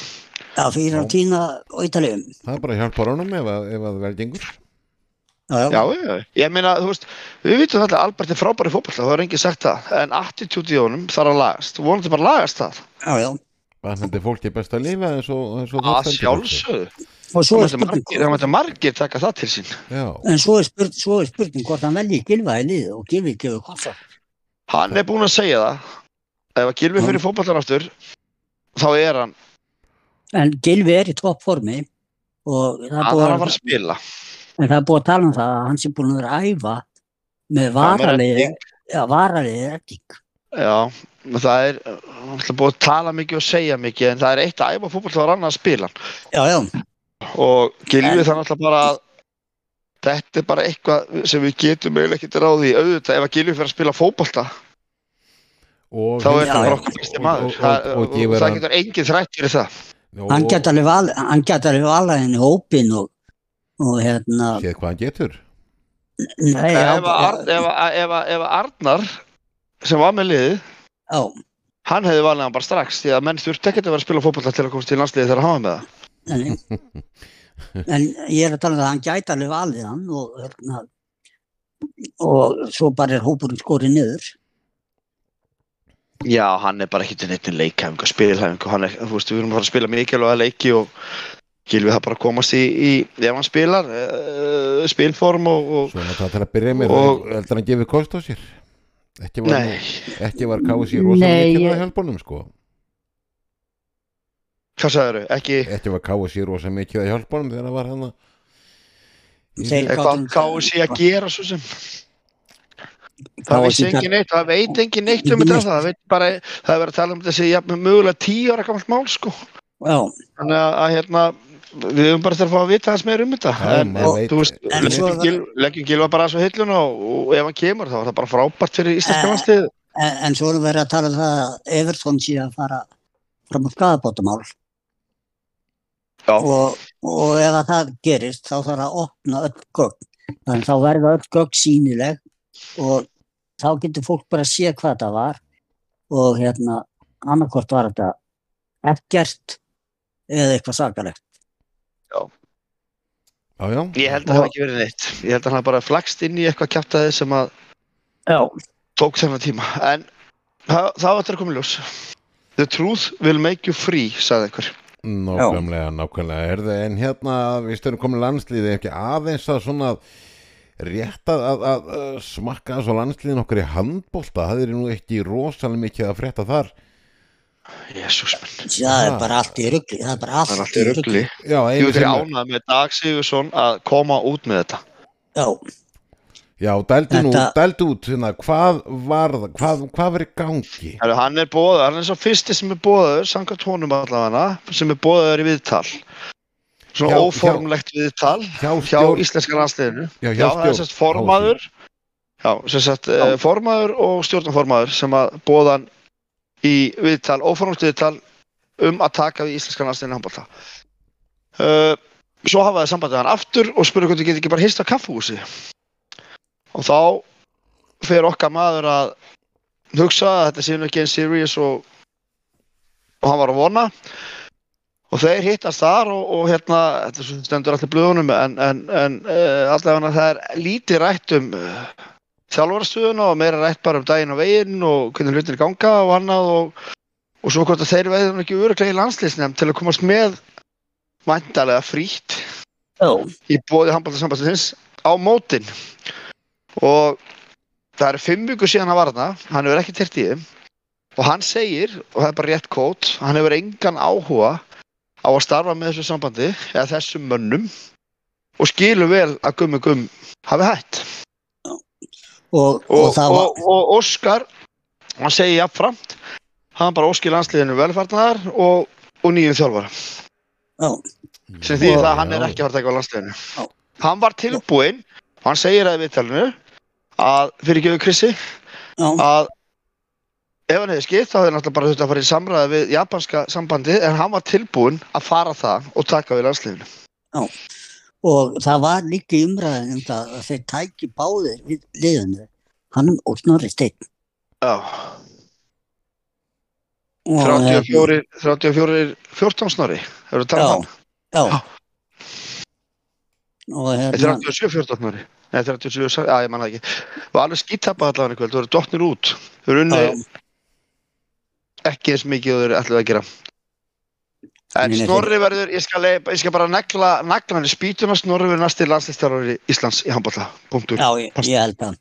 Speaker 3: já, fyrir á tína á Ítalíum,
Speaker 1: Það er bara að hjálpa honum ef að, ef að vel gengur
Speaker 3: já, já,
Speaker 2: Já, já, já. ég meina, þú veist, við vitum alltaf að Albert er frábæri fótballta, það er engin sagt það, en attitúti í honum þarf að lagast, vonandi bara lagast það.
Speaker 3: já, já,
Speaker 1: Hann hendur fólk til best að lifa eins og, eins og
Speaker 2: Að
Speaker 1: stendur fólki.
Speaker 2: sjálfsögðu,
Speaker 3: og
Speaker 2: það
Speaker 3: svo er
Speaker 2: mætti margir,
Speaker 3: spurning,
Speaker 2: það mætti margir taka það til sín.
Speaker 1: Já,
Speaker 3: en svo er spurning, svo er spurning hvort hann velji gilfaði liðið og gilfið gefur koffa,
Speaker 2: Hann er búinn að segja það, ef að gilfi fyrir fótballtan aftur, þá er hann,
Speaker 3: en gilfið er í topp formi og það er
Speaker 2: hann
Speaker 3: búið
Speaker 2: þarf að fara að spila.
Speaker 3: En það er búið að tala um það að hann sé búin að vera að æfa með
Speaker 2: með
Speaker 3: varaliði,
Speaker 2: redding.
Speaker 3: já, varaliði redding.
Speaker 2: Já, menn það er, hann er búinn að tala mikið og segja mikið, en það er eitt að æfa fótballta og annað að spila. hann.
Speaker 3: Já, já,
Speaker 2: og
Speaker 3: En-
Speaker 2: gilfið það náttúrulega bara að þetta er bara eitthvað sem við getum eiginlega ekkert ráði í auðvitað ef að gilfið fyrir að spila fótbolta
Speaker 1: og
Speaker 2: þá er það
Speaker 3: Já, já.
Speaker 2: bara okkur besti maður
Speaker 1: og,
Speaker 2: það,
Speaker 1: og, og,
Speaker 2: og
Speaker 1: gefur
Speaker 2: það
Speaker 1: hann-
Speaker 2: getur engin þrætt fyrir það
Speaker 1: og,
Speaker 3: hann gæti alveg valið- hann gæti alveg valað henni hópin og, og hérna
Speaker 1: séð hvað hann getur
Speaker 3: nei,
Speaker 2: Ef
Speaker 3: já,
Speaker 2: að Arn- ef að- ef að- ef að Arnar sem var með liðið
Speaker 3: já,
Speaker 2: hann hefði valið hann bara strax því að menn þurfti ekkert að vera að spila fótbolta til að komast í landsliði þegar hann var með það
Speaker 3: en, en ég er að tala um það hann gæti alveg valið hann og, hérna, og svo bara er hópurinn skorið niður
Speaker 2: Já, hann er bara ekki til neitt leikæfingu, spilhæfingu hann er, þú veist, við erum að fara að spila mikilvæga leiki og gilvið það bara að komast í, í ef hann spilar uh, spilform og, og
Speaker 1: svona það til að byrja með
Speaker 2: Og-
Speaker 1: heldur hann gefið kost á sér ekki var,
Speaker 2: Nei,
Speaker 1: ekki var KSI rosalega
Speaker 4: Nei,
Speaker 1: mikilvæg
Speaker 4: ég-
Speaker 1: að hjálpunum sko
Speaker 2: hvað sagðið ekki
Speaker 1: ekki var KSI rosalega mikilvæg að hjálpunum þegar hann var hann
Speaker 3: Þeir-
Speaker 2: eitthvað kási eh, að gera svo sem Það vissi engin neitt, það veit engin neitt um
Speaker 3: Engin
Speaker 2: þetta,
Speaker 3: neitt.
Speaker 2: það veit bara, það er verið að tala um þessi jafnvel mögulega tíu ára gamalt mál sko.
Speaker 3: já,
Speaker 2: Þannig að, að hérna, við höfum bara þarf að fá að vita aðeins meira um þetta.
Speaker 1: Já,
Speaker 2: en,
Speaker 1: maður
Speaker 2: og,
Speaker 1: veit-
Speaker 2: þú veist,
Speaker 3: En svo
Speaker 2: leggjum
Speaker 3: er það-
Speaker 2: Gil- leggjum gilva bara aðeins á hilluna og, og ef hann kemur þá er það bara frábært fyrir íslenska
Speaker 3: Eh.
Speaker 2: landslið.
Speaker 3: en, en svo erum við að tala um það að Everton sé að fara fram á skadabótamál
Speaker 2: Já,
Speaker 3: og, og ef að það gerist þá þarf að opna öll gögn þannig þá verða öll gögn sínileg og þá getur fólk bara að sé hvað það var og hérna annarkvort var þetta ekkert eða eitthvað sakalegt
Speaker 1: já, já.
Speaker 2: ég held að það hafi ekki verið neitt. Ég held að hann hafi bara flagst inn í eitthvað kjátaði sem að
Speaker 3: Já,
Speaker 2: tók þennan tíma. En það það var þetta að koma í ljós. The truth will make you free, sagði einhver.
Speaker 1: Nákvæmlega, nákvæmlega er það en hérna við stöðum komin landslíði ekki aðeins að svona rétt að, að, að, að smakka svo landsliðin okkar í handbólta það er nú ekki rosalega mikið að frétta þar
Speaker 2: Jésús minn,
Speaker 3: það er
Speaker 1: Ha.
Speaker 3: bara allt í rugli það er bara allt,
Speaker 2: það er alltaf
Speaker 3: rugli.
Speaker 2: ruggli.
Speaker 1: Já, einu
Speaker 2: Ég veit ekki
Speaker 1: sem
Speaker 2: ánað með Dag Sigursson að koma út með þetta.
Speaker 3: Já,
Speaker 1: Já, dældu nú,
Speaker 3: Þetta-
Speaker 1: dældu út hérna, hvað var það, hvað, hvað var í gangi
Speaker 2: Heru, hann er bóður, hann er svo fyrsti sem er bóður, samkvæmt honum allavega, sem er bóður í viðtal. Svona
Speaker 1: Hjá-
Speaker 2: óformlegt viðtal
Speaker 1: hjá
Speaker 2: hjá
Speaker 1: stjórn,
Speaker 2: íslenska landsliðinu.
Speaker 1: já,
Speaker 2: Já, það er sérst formaður, já, sérst uh, formaður og stjórnformaður sem að bóðan í viðtal, óformlegt viðtal um að taka við íslenska landsliðinu handbólta. Uh, svo hafaði sambandið hann aftur og spurði hvernig geti ekki bara hist á kaffuhúsi. Og þá fer okkar maður að hugsa að þetta sé nú ekki eins serious og, og hann var að vona og þeir hittast þar og, og hérna, þetta er svo sem stendur allir blöðunum en, en, en uh, allavega það er lítið rætt um uh, þjálfarastöðuna og meira rætt bara um daginn og veginn og hvernig hlutin ganga og annað og, og svo hvort að þeir veðum ekki öruglega í landslýsnefn til að komast með vandalega frítt
Speaker 3: já,
Speaker 2: í bóði handbóltarsambandsins á mótin og það eru fimm vikur síðan hann var þarna hann hefur ekki tert í þeim og hann segir, og það er bara rétt kót hann hefur engan áhuga á að starfa með þessu sambandi eða þessum mönnum og skilur vel að gummi gumm hafi hætt
Speaker 3: og, og,
Speaker 2: og,
Speaker 3: það var
Speaker 2: og, og Óskar hann segir jafnframt hann bara óskil landsliðinu velfarnar og, og nýjum þjálfara sem því það að hann er ekki að fara að taka á
Speaker 3: Já.
Speaker 2: landsliðinu hann var tilbúinn og hann segir það í viðtalinu að fyrir gefið Krissi
Speaker 3: já,
Speaker 2: að ef hann hefði skipt þá hefði náttúrulega bara þurft að fara í samræði við japanska sambandi en hann var tilbúinn að fara það og taka við landsliðinu
Speaker 3: og það var líka í umræðin um það að þeir tæki báðir við liðinu hann og Snorri Steinn
Speaker 2: Já,
Speaker 3: og, eh,
Speaker 2: 34, 34 14 snorri, hefur þú talað um hann?
Speaker 3: já, já. og
Speaker 2: Nei,
Speaker 3: hérna
Speaker 2: 37 14 snorri Nei, 37, sa- já ég manna ekki Var alveg skítappa allavega í kvöld, þú eru dottnir út Þú eru unni
Speaker 3: já,
Speaker 2: ekki eins mikið og þeir ætlaði að gera en
Speaker 3: Nei, nei,
Speaker 2: Snorri verður ég skal, ég skal bara negla negla hann í spýtuna Snorri verður næsti landslistjálfari Íslands í handballa, punktur
Speaker 3: já, ég, ég held að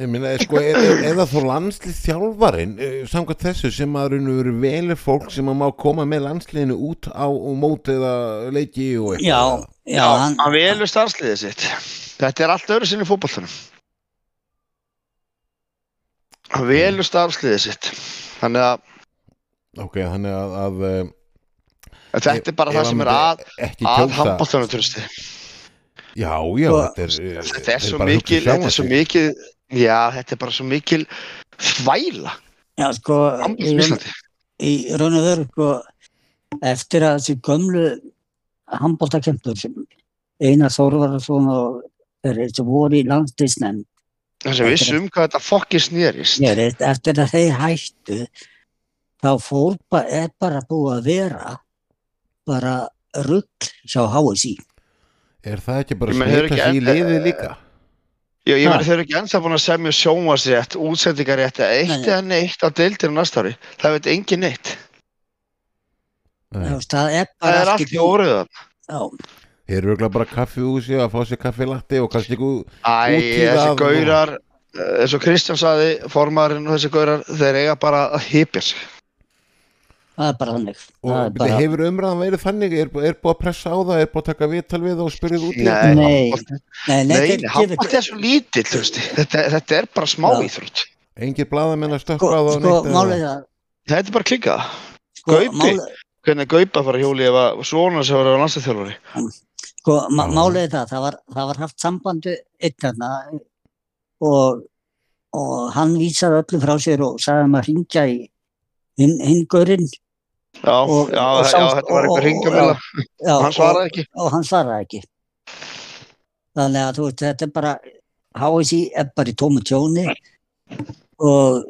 Speaker 1: Ég minna, sko, er, er, er það þó landslið þjálfarin e, samkvæmt þessu sem að raun og veru velu fólk sem að má koma með landsliðinu út á og mót eða leiki og eitthvað
Speaker 3: já, já, hann,
Speaker 2: hann velur starfsliðið sitt þetta er allt öðru sinni fótballtunum hann velur starfsliðið sitt þannig að
Speaker 1: Ok, þannig að, að eh,
Speaker 2: En þetta er bara
Speaker 1: Ef
Speaker 2: það
Speaker 1: hann
Speaker 2: sem er
Speaker 1: myndi
Speaker 2: að,
Speaker 1: ekki
Speaker 2: að
Speaker 1: kjósa-
Speaker 2: handbóltanaturisti.
Speaker 1: Já, já,
Speaker 3: Sko,
Speaker 1: þetta er eh,
Speaker 2: Þetta er svo
Speaker 1: bara hugsa
Speaker 2: mikil, þetta
Speaker 1: sjálfan
Speaker 2: er svo
Speaker 1: sig.
Speaker 2: mikil, já, þetta er bara svo mikil þvæla.
Speaker 3: Já, sko, í raun,
Speaker 2: Íslandi.
Speaker 3: í raun og veru, sko, eftir að þessi gömlu handbóltakempur sem Einar Þórvararsson og þeirri sem voru í landslýsnefnd,
Speaker 2: Það sem vissum um hvað þetta fokki snerist.
Speaker 3: eftir að þeir hættu, þá fór, ba- er bara búið að vera bara rugg hjá HSI.
Speaker 1: Er það ekki bara
Speaker 2: Ég
Speaker 1: að
Speaker 2: meina,
Speaker 1: smita
Speaker 2: hefur ekki
Speaker 1: sig í
Speaker 2: enn-
Speaker 1: liðið líka?
Speaker 2: Já, ég
Speaker 3: Ha.
Speaker 2: verði þau eru ekki ennþá búin að semja sjónvarsrétt, útsendingarétt eða eitt
Speaker 3: Nei.
Speaker 2: eða neitt á deildinu næsta ári. Það veit engin neitt.
Speaker 1: Nei.
Speaker 3: Þú veist, Það er
Speaker 2: Það
Speaker 3: bara
Speaker 2: er allt í óriðan.
Speaker 3: Já,
Speaker 1: Þeir eru örugglega bara kaffihúsi að fá sér kaffilatti og kannski ykkur
Speaker 2: Æ,
Speaker 1: Útdýfað
Speaker 2: þessi
Speaker 1: og-
Speaker 2: gaurar, eh, eins og Kristján saði, formarinn og þessi gaurar, þeir eiga bara að hypja sig.
Speaker 3: það er bara þannig.
Speaker 1: og
Speaker 3: það er
Speaker 1: bara... hefur umræðan verið þannig er, er búið að pressa á það, er búið að taka viðtal við það og spyrja það út í
Speaker 2: Nei.
Speaker 1: þetta?
Speaker 3: Nei, nei, nei,
Speaker 2: Nei,
Speaker 3: sko, þeir
Speaker 2: nei,
Speaker 3: gefa
Speaker 2: handbólti er svo lítill, þú veist. Þetta, þetta er bara smá
Speaker 3: Já.
Speaker 2: íþrótt.
Speaker 1: engir blaðamenn að
Speaker 3: Sko,
Speaker 1: stökkva á það
Speaker 3: sko,
Speaker 1: neitt eða-
Speaker 3: málið er það,
Speaker 2: Þetta er bara klikkað.
Speaker 3: sko,
Speaker 2: Gaupi.
Speaker 3: málið,
Speaker 2: Hvernig gaupa fara hjóli ef að svona sem verður á landstæðþjálfari?
Speaker 3: sko, ma-
Speaker 1: Já.
Speaker 3: málið er það, það var, það var haft sambandi einnarna og, og hann vísaði öllu frá sér og sagði um að ringja í hinn hin gaurinn
Speaker 2: Já,
Speaker 3: Og-
Speaker 2: já,
Speaker 3: og
Speaker 2: já,
Speaker 3: sást-
Speaker 2: þetta var
Speaker 3: og-
Speaker 2: eitthvað
Speaker 3: og-
Speaker 2: ringamilla.
Speaker 3: já,
Speaker 2: Hann
Speaker 3: og,
Speaker 2: svaraði ekki.
Speaker 3: og hann svaraði ekki. Þannig að þú veist, þetta er bara, HSI er bara í tómu tjóni og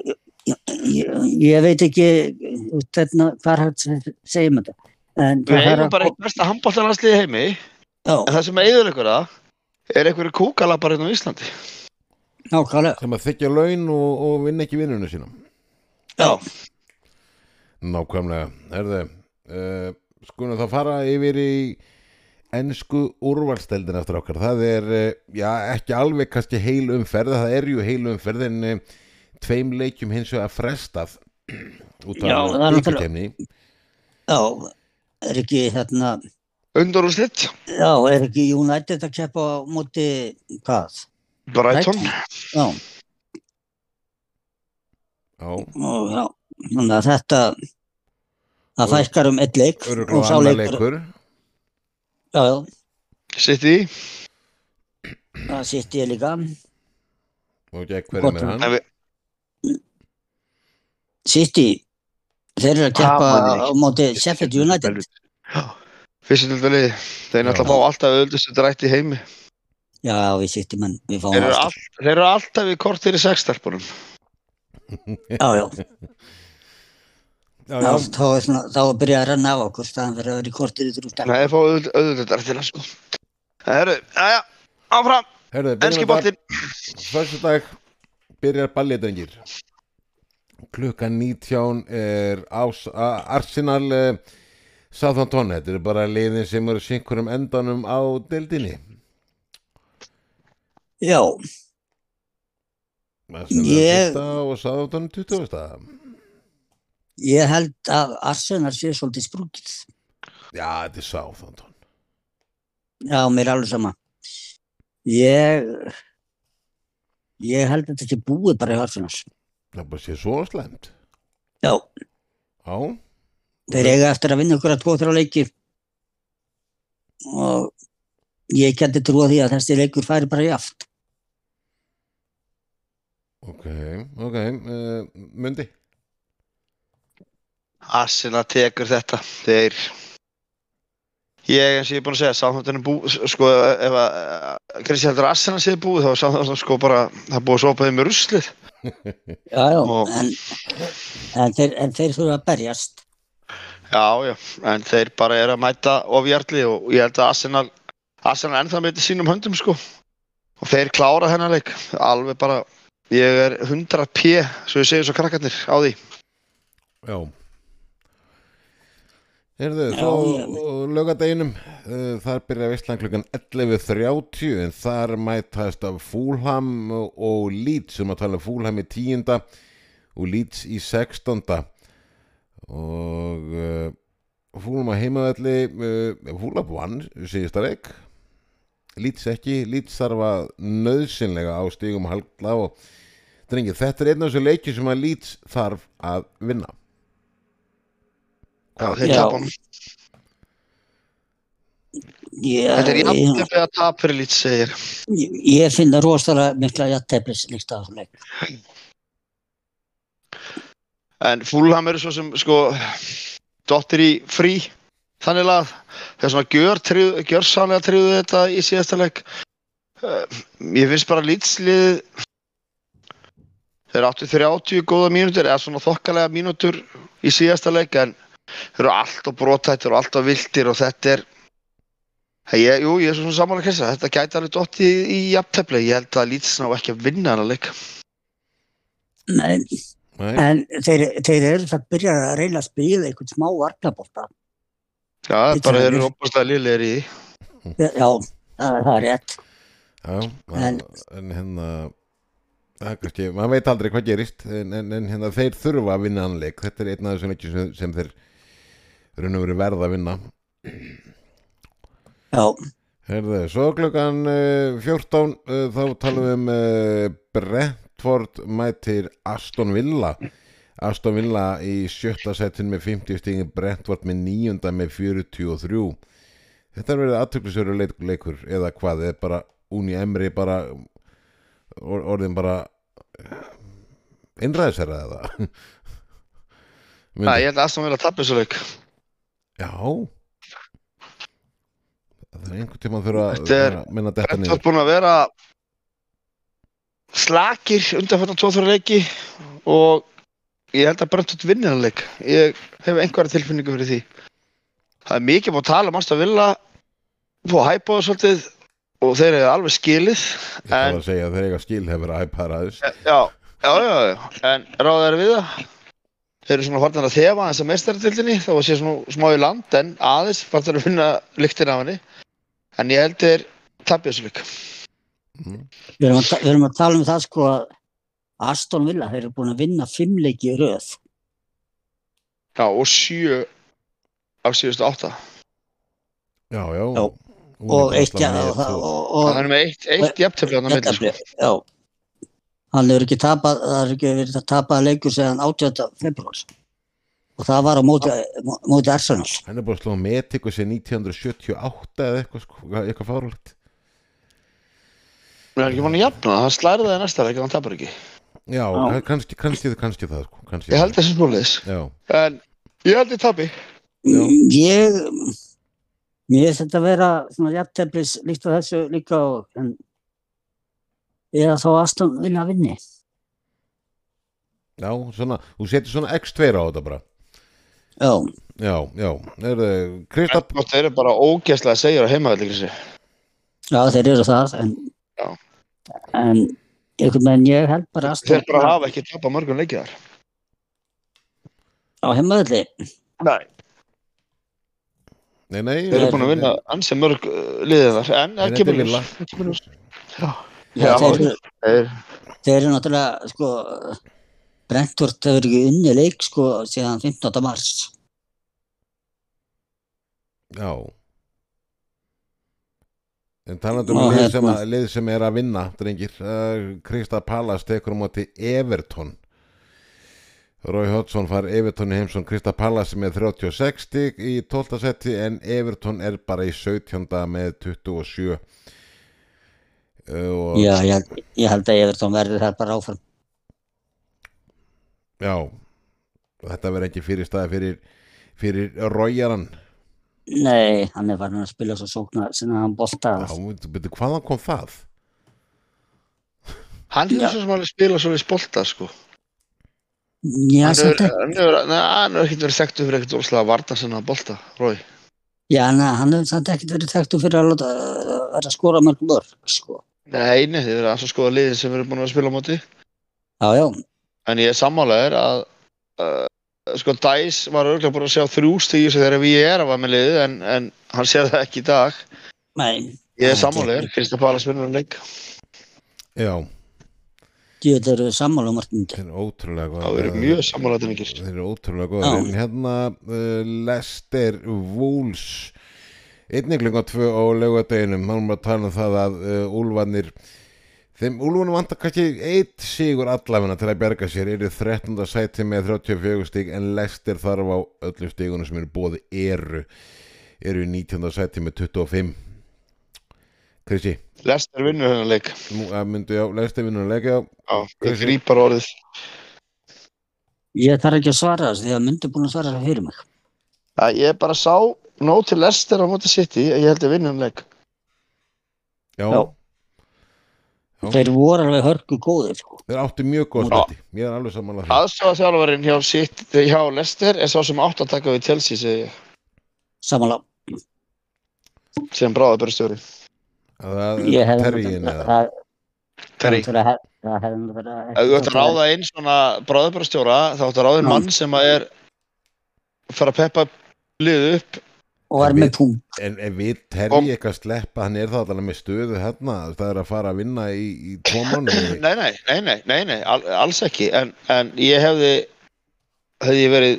Speaker 3: ég, ég, ég veit ekki út þarna hvað hægt se- segjum um þetta. En það
Speaker 2: Við
Speaker 3: þarf
Speaker 2: eigum
Speaker 3: að-
Speaker 2: bara eitt besta handbóltanlandsliði heimi.
Speaker 3: Já,
Speaker 2: En það sem eigður ykkur það er einhverju kúkalapar hérna á Íslandi.
Speaker 3: nákvæmlega.
Speaker 1: sem að þykja laun og, og vinna ekki vinnunum sínum
Speaker 3: Já.
Speaker 1: nákvæmlega, herðu uh, skulum þá fara yfir í ennsku úrvalsteldin eftir okkar, það er uh, já, ekki alveg kannski heil umferð það er ju heil umferð en uh, tveim leikjum hins vegar frestað út
Speaker 3: Já,
Speaker 1: af
Speaker 3: það er náttúrulega-
Speaker 1: byggjarkemni
Speaker 3: Já, er ekki hérna,
Speaker 2: Undur og slitt,
Speaker 3: já, er ekki United að keppa á móti, hvað?
Speaker 2: Brighton.
Speaker 3: Já,
Speaker 1: já,
Speaker 3: og já, þannig að þetta, það
Speaker 1: Og-
Speaker 3: fækkar um eitt leik
Speaker 1: öruglega annar leikur
Speaker 3: Já, já,
Speaker 2: Sitt í.
Speaker 3: það sitt ég líka,
Speaker 1: og ekki hver er
Speaker 3: Gott.
Speaker 1: með hann
Speaker 2: En við-
Speaker 3: sitt í, þeir eru að keppa
Speaker 2: Ah, maður,
Speaker 3: á móti Sheffield United.
Speaker 2: Fyrstundaliði, þeir
Speaker 1: Já.
Speaker 2: náttúrulega fá alltaf öðlustu drætt í heimi.
Speaker 3: Já, við sitt í menn, við fáum
Speaker 2: Þeir eru,
Speaker 3: alltaf.
Speaker 2: all, þeir eru alltaf í kortir í sextarpunum.
Speaker 3: Já, já,
Speaker 1: já,
Speaker 3: já, þá er svona, þá er byrjað að renna af okkur, staðan fyrir að vera í kortir í
Speaker 2: Þannig
Speaker 3: þrjústar.
Speaker 2: að þeir fá öðl- öðlustu drætt til að sko. Það eru, aðja, áfram,
Speaker 1: herðu,
Speaker 2: ennski bóttin.
Speaker 1: Þessu dag byrjar balliðdengir Klukkan 19 er ás, a, Arsenal uh, Southampton, þetta eru bara liðin sem eru sinkurum endanum á deildinni
Speaker 3: Já,
Speaker 1: Arsenal
Speaker 3: Ég-
Speaker 1: fyrsta og Southampton 20.
Speaker 3: ég held að Arsenal sé svolítið sprúkið.
Speaker 1: Já, þetta er Southampton
Speaker 3: Já, mér er alveg sama. Ég, ég held að þetta sé búið bara í Arsenal.
Speaker 1: Það er bara sé svo slæmt
Speaker 3: Já,
Speaker 1: Já,
Speaker 3: þeir eiga eftir að vinna okkur að tvo þrjá leiki og ég geti trúa því að þessi leikur færi bara í aft.
Speaker 1: ok, ok uh, Mundi
Speaker 2: Assina tekur þetta, þeir. Ég eins og ég er búin að segja, samþáttunum búið, sko, ef að eh, Kristján heldur að Assina séð búið, þá er samþáttunum sko bara, það er búið að sopa þeim með ruslið.
Speaker 3: Já, já,
Speaker 2: Og-
Speaker 3: en, en, þeir, en þeir þurfa að berjast.
Speaker 2: Já, já, en þeir bara eru að mæta ofjartli og ég held að Arsenal Arsenal ennþá með þetta sínum höndum sko og þeir klára hennar leik alveg bara, ég er 100p svo ég segi svo krakkarnir á því
Speaker 1: Já Herðu,
Speaker 3: Já,
Speaker 1: þá
Speaker 3: ég-
Speaker 1: lögadeginum uh, þar byrja veistlan klukkan 11.30 en þar mætast af Fúlham og Leeds um að tala um Fúlham í tíunda og Leeds í sextanda og uh, Fúlham á heimavelli uh, Fúlham vann síðasta leik Leeds ekki, Leeds þarf að nöðsynlega á stigum að halda og drengi, þetta er einn af þessu leiki sem að Leeds þarf að vinna
Speaker 2: Já, þeir
Speaker 3: Já.
Speaker 2: tapa honum.
Speaker 3: ég,
Speaker 2: Þetta er
Speaker 3: ég,
Speaker 2: jafntefni að tap fyrir lítið segir.
Speaker 3: ég, ég finn það rosalega mikla jatteflis líkt að þessum leik.
Speaker 2: En Fulham eru svo sem, sko, dottir í frí, þannig lað. Það er svona gjör, tryð, gjör sannlega tryðu þetta í síðasta leik. Uh, ég finnst bara lítslið, þeir áttu 30 góða mínútur, eða svona þokkalega mínútur í síðasta leik, en þeir eru alltaf brotættir og alltaf vildir og þetta er, ég, jú, ég er svona samanlega kristið, þetta gæti alveg dottið í, í jafntefni. Ég held að lítslið ná ekki að vinna hana leik.
Speaker 3: Nei,
Speaker 1: Nei,
Speaker 3: en þeir, þeir eru það byrjar að reyna að spila einhvern smá varnabólta.
Speaker 2: Já, það er
Speaker 3: Lítið
Speaker 2: bara þeir eru
Speaker 3: þannig.
Speaker 2: opaslega liðlegir í því.
Speaker 3: Já, það, það er rétt.
Speaker 1: já, en,
Speaker 3: En-
Speaker 1: en hérna það, kannski, maður veit aldrei hvað gerist en, en, en hérna þeir þurfa að vinna anleik þetta er einn af þessum leikjum sem, sem þeir raun og verið verða að vinna
Speaker 3: Já,
Speaker 1: Herðu, svo klukkan uh, 14 uh, þá talum við um uh, Brentford mætir Aston Villa Aston Villa í sjötta setin með 50 stingi Brentford með níunda með 43 Þetta er verið aðtöklusjöru leik, leikur eða hvað, eða bara Úni Emri bara or, orðin bara innræðisherra eða
Speaker 2: Nei, ég held að Aston Villa tapja þessu leik.
Speaker 1: Já Það er einhvern tímann fyrir að
Speaker 2: Þetta er-
Speaker 1: fyrir að minna detta
Speaker 2: Brentford
Speaker 1: niður
Speaker 2: búin að vera slakir undanfættan tóþóra leiki og ég held að Brentford vinni hann leik. Ég hef einhverja tilfinningu fyrir því. Það er mikið búin að tala um Aston Villa og hæpa það svolítið og þeir eru alveg skilið.
Speaker 1: Ég ætla
Speaker 2: En,
Speaker 1: að segja að þeir eiga skil hefur æparaðis
Speaker 2: já, já, já, já, en ráða þeir við það. Þeir eru svona hvartan að þefa þess að mestaratildinni þá sé svona smá í land en aðeins hvartan að vinna lyktin af henni. En ég held þeir tapja þessu leik.
Speaker 1: mm.
Speaker 3: við erum, að, ta- við erum að tala um það sko að Aston Villa, þeir eru búin að vinna fimmleiki í röð.
Speaker 2: Já, og sjö af síðustu átta.
Speaker 1: Já, já
Speaker 3: Já.
Speaker 1: Úlík
Speaker 3: Og eitt,
Speaker 1: náttúrulega
Speaker 3: ja,
Speaker 1: með
Speaker 3: og, það-
Speaker 1: tvo.
Speaker 3: og,
Speaker 2: Og
Speaker 3: og,
Speaker 2: hann er með eitt, eitt jafntefli hann að milli.
Speaker 3: Jafntefli,
Speaker 2: sko.
Speaker 3: já. Hann hefur ekki tapað, það hefur ekki verið að tapað leikur segðan 18. februar og það var á móti, mó- móti Arsenal.
Speaker 1: Hann er búin að slá með ykkur sér 1978 eða eitthvað sko, eitthvað fárulegt
Speaker 2: Hann er ekki mann að jafna, það, hann slærði það í næsta leik en hann tapar ekki.
Speaker 1: Já, já. Kannski, kannski, kannski það sko, kannski
Speaker 2: Ég held þessi smúliðis.
Speaker 1: það Já,
Speaker 2: En ég held ég tapi.
Speaker 1: Já.
Speaker 3: Ég, mér finnst þetta að vera svona jafnteflis líkt á þessu líka og, en eða þá Aston Villa vinni.
Speaker 1: já, svona Þú setur svona x2 á þetta bara
Speaker 3: Já,
Speaker 1: Já, já, er það Kristap
Speaker 2: Brentford eru bara ógeðslega að segja á heimavelli grísi.
Speaker 3: já þeir eru það en,
Speaker 2: Já.
Speaker 3: en einhvern veginn ég held bara Aston
Speaker 2: Þeir bara hafa ekki tapað mörgum leikið þar.
Speaker 3: á heimaðalli.
Speaker 2: Nei.
Speaker 1: Nei, nei
Speaker 2: Þeir eru búin að vinna ansi mörg uh, liðið þar, en
Speaker 1: Nei, þetta
Speaker 2: það
Speaker 1: er
Speaker 2: kemur
Speaker 1: Villa.
Speaker 2: ljós. Það kemur ljós. Já.
Speaker 3: Já,
Speaker 2: Já,
Speaker 3: þeir eru-
Speaker 2: Þeir-
Speaker 3: Þeir eru náttúrulega, sko, Brentford hefur ekki unni leik, sko, síðan 15. mars.
Speaker 1: Já En talandi um
Speaker 3: Og
Speaker 1: lið
Speaker 3: hérna-
Speaker 1: sem, að, lið sem er að vinna, drengir Krista uh, Pallas tekur á móti Everton Rói Hotsson far Everton í heimsson Krista Pallas með 36 stig í 12. seti en Everton er bara í 17. með 27 uh, og,
Speaker 3: Já, ég, ég held að Evertón verður þar bara áfram.
Speaker 1: já Þetta verður ekki fyrir staði fyrir fyrir Róiaran
Speaker 3: Nei, hann er farin að spila svo sóknar sinna hann bolta.
Speaker 1: Hvaðan kom það?
Speaker 2: Hann
Speaker 3: Já.
Speaker 2: hefur svo sem alveg spilað svo við spolta, sko.
Speaker 3: Já,
Speaker 2: Hann
Speaker 3: samt
Speaker 2: hefur
Speaker 3: ekki.
Speaker 2: hann hefur- nei, hann hefur ekkert verið þekktu fyrir ekkert óslega varna sinna bolta, Rói.
Speaker 3: Já, hann, hann hefur samt ekkert verið þekktu fyrir að láta uh, vera að skora mörg mörg, sko.
Speaker 2: Nei, nei, þið verða aðeins að skoða liðin sem við erum búin að vera að spila á móti.
Speaker 3: Já, já,
Speaker 2: En ég er sammálaður að uh, sko Dice var örgulega búin að sjá þrjú stígjur sem þegar við erum að með liðið en, en hann sér það ekki í dag.
Speaker 3: nei,
Speaker 2: Ég
Speaker 3: Nei,
Speaker 2: er sammálaður,
Speaker 3: þetta-
Speaker 2: Kristján Pálas vinnur um leik.
Speaker 1: Já
Speaker 3: djúið eru sammála um markmyndi.
Speaker 1: Þeir eru ótrúlega góða
Speaker 2: Það eru mjög sammálaður en ekki.
Speaker 1: Þeir eru ótrúlega góða
Speaker 3: Já.
Speaker 1: En hérna uh, Lester Wools einnig klukkan tvö á laugardeginum hann var að tala um það að uh, Úlfanir þeim Úlfanum vantar kannski eitt sigur allafina til að bjarga sér eru 13. sæti með 34 stík en Lester þarf á öllum stígunum sem eru bóði eru eru í 19. sæti með 25 Krissi,
Speaker 2: Lester vinnur hennar leik
Speaker 1: nú eh, að myndu já, lestu vinnur að leika já
Speaker 2: Já,
Speaker 1: Hvað
Speaker 2: ég
Speaker 1: sé?
Speaker 2: grípar orðið
Speaker 3: Ég þarf ekki að svara þessu því að myndi búin að svara þessu fyrir mig.
Speaker 2: að Ég bara sá nóg til Lester á móti City að ég held að vinna hennar leik
Speaker 1: Já,
Speaker 3: Já.
Speaker 1: Já.
Speaker 3: Þeir voru alveg hörku góðir, sko.
Speaker 1: þeir áttu mjög góð
Speaker 2: Já.
Speaker 1: stætti, ég er alveg samanlega því
Speaker 2: Aðstofa þjálfarinn hjá, City- hjá Lester er sá sem átt að taka við Chelsea segi ég,
Speaker 3: Samanlega,
Speaker 2: sem bráða bara stjóri
Speaker 1: Það
Speaker 3: ég
Speaker 1: er
Speaker 3: hefði...
Speaker 1: terriin
Speaker 3: það-
Speaker 1: eða
Speaker 3: það-
Speaker 2: Terry.
Speaker 3: Það hefði- það hefði náttúrulega ekki
Speaker 2: Ef þú ætti
Speaker 3: þótt
Speaker 2: að ráða einn svona bráðabrastjóra þá ætti að ráða einn
Speaker 3: Já.
Speaker 2: mann sem að er fara að peppa liðu upp
Speaker 3: Og er með pún.
Speaker 1: En ef við
Speaker 2: Kom.
Speaker 1: terri eitthvað sleppa, hann er það alveg með stöðu hérna, þú veist, það er að fara að vinna í, í tvo mánuði
Speaker 2: Nei, nei, nei, nei, nei, nei al, alls ekki en, en ég hefði hefði ég verið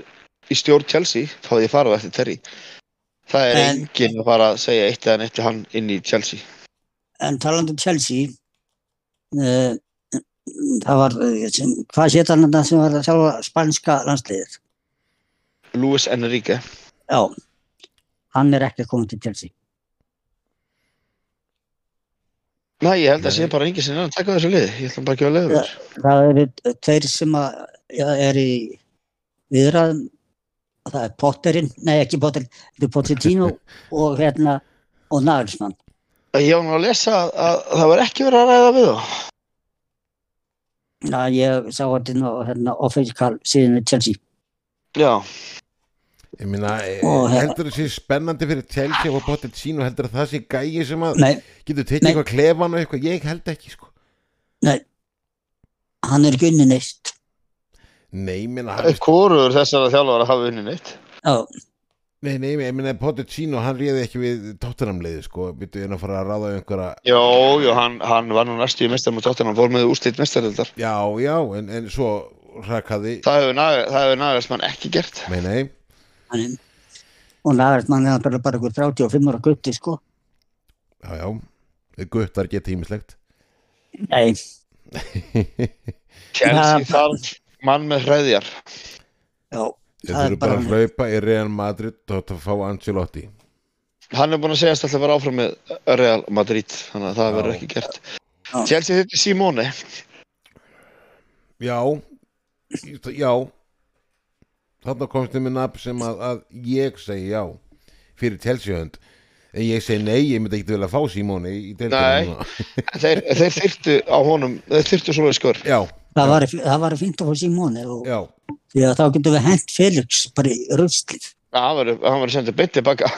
Speaker 2: í stjórn Chelsea þá hefði ég farið á eftir Terry Það er
Speaker 3: En-
Speaker 2: enginn að fara að segja eitt eða neitt til hann inn í Chelsea
Speaker 3: En talandi um Chelsea, uh, það var, eh, sem, hvað sétt hann þetta sem var að sjálfa spænska landsliðið?
Speaker 2: Luis Enrique
Speaker 3: Já, hann er ekki komið til Chelsea.
Speaker 2: Nei, ég held að
Speaker 1: Nei.
Speaker 2: sé bara enginn sem er að taka þessu liði Ég ætla bara ekki að leiða
Speaker 3: Já.
Speaker 2: þér
Speaker 3: Það eru tveir sem að, já, er í viðræðum, það er Potterinn, nei ekki Potterinn, þetta er Pochettino og hérna, og Nagelsmann.
Speaker 2: Ég var nú að lesa að, að það var ekki verið að ræða við þá
Speaker 3: Já, ég sá þetta nú hérna official síðan við Chelsea.
Speaker 2: Já,
Speaker 1: Ég meina, e,
Speaker 3: Og hérna-
Speaker 1: heldur það sé spennandi fyrir Chelsea og potið sín og heldur það sé gæi sem að
Speaker 3: Nei,
Speaker 1: getur tekið
Speaker 3: Nei.
Speaker 1: eitthvað klefan og eitthvað, ég held ekki sko
Speaker 3: hann er ekki unni neitt.
Speaker 1: Nei, ég meina, hann,
Speaker 2: hvorur þessara þjálfara hafa unni neitt
Speaker 3: Já,
Speaker 1: nei, nei, ég meina potið sín og hann réði ekki við tóttunamliði sko, byrju en að fara að ráða einhverja
Speaker 2: Jó, jó, hann, hann var nú næstu í mestar með tóttina, hann fór með úrslit mestarildar.
Speaker 1: Já, já, en, en svo rakaði,
Speaker 2: Það hefur Nag- það hefur Nagelsmann ekki gert.
Speaker 1: nei, nei
Speaker 3: hann er, og Nagelsmann er bara, bara ykkur 35 ára gutti, sko.
Speaker 1: Já, já, guttar geta ímislegt
Speaker 3: Nei,
Speaker 2: Chelsea
Speaker 3: Ja.
Speaker 2: þarf mann með hreðjar.
Speaker 3: já,
Speaker 1: Þeir
Speaker 3: Það er
Speaker 1: þurfum bara að
Speaker 3: bara-
Speaker 1: hlaupa í Real Madrid og að fá Ancelotti
Speaker 2: Hann er búin að segjast alltaf að vera áfram með Real Madrid, þannig að það
Speaker 1: Já.
Speaker 2: verður ekki gert.
Speaker 3: Já.
Speaker 2: Chelsea þetta er Simone.
Speaker 1: Já, já Þarna komst þið með nafn sem að, að ég segi já fyrir Chelsea-hönd en ég segi nei, ég myndi ekki vilja fá Simóni í
Speaker 2: Nei.
Speaker 1: deildinu núna.
Speaker 2: Þeir, þeir þyrtu á honum, þeir þyrtu svoleiðis skör.
Speaker 1: Já,
Speaker 3: það var, það var fínt að fá Simone og
Speaker 1: já,
Speaker 3: því að þá getum við hent Felix bara í ruslið.
Speaker 2: Hann verður hann verður sendið beint tilbaka.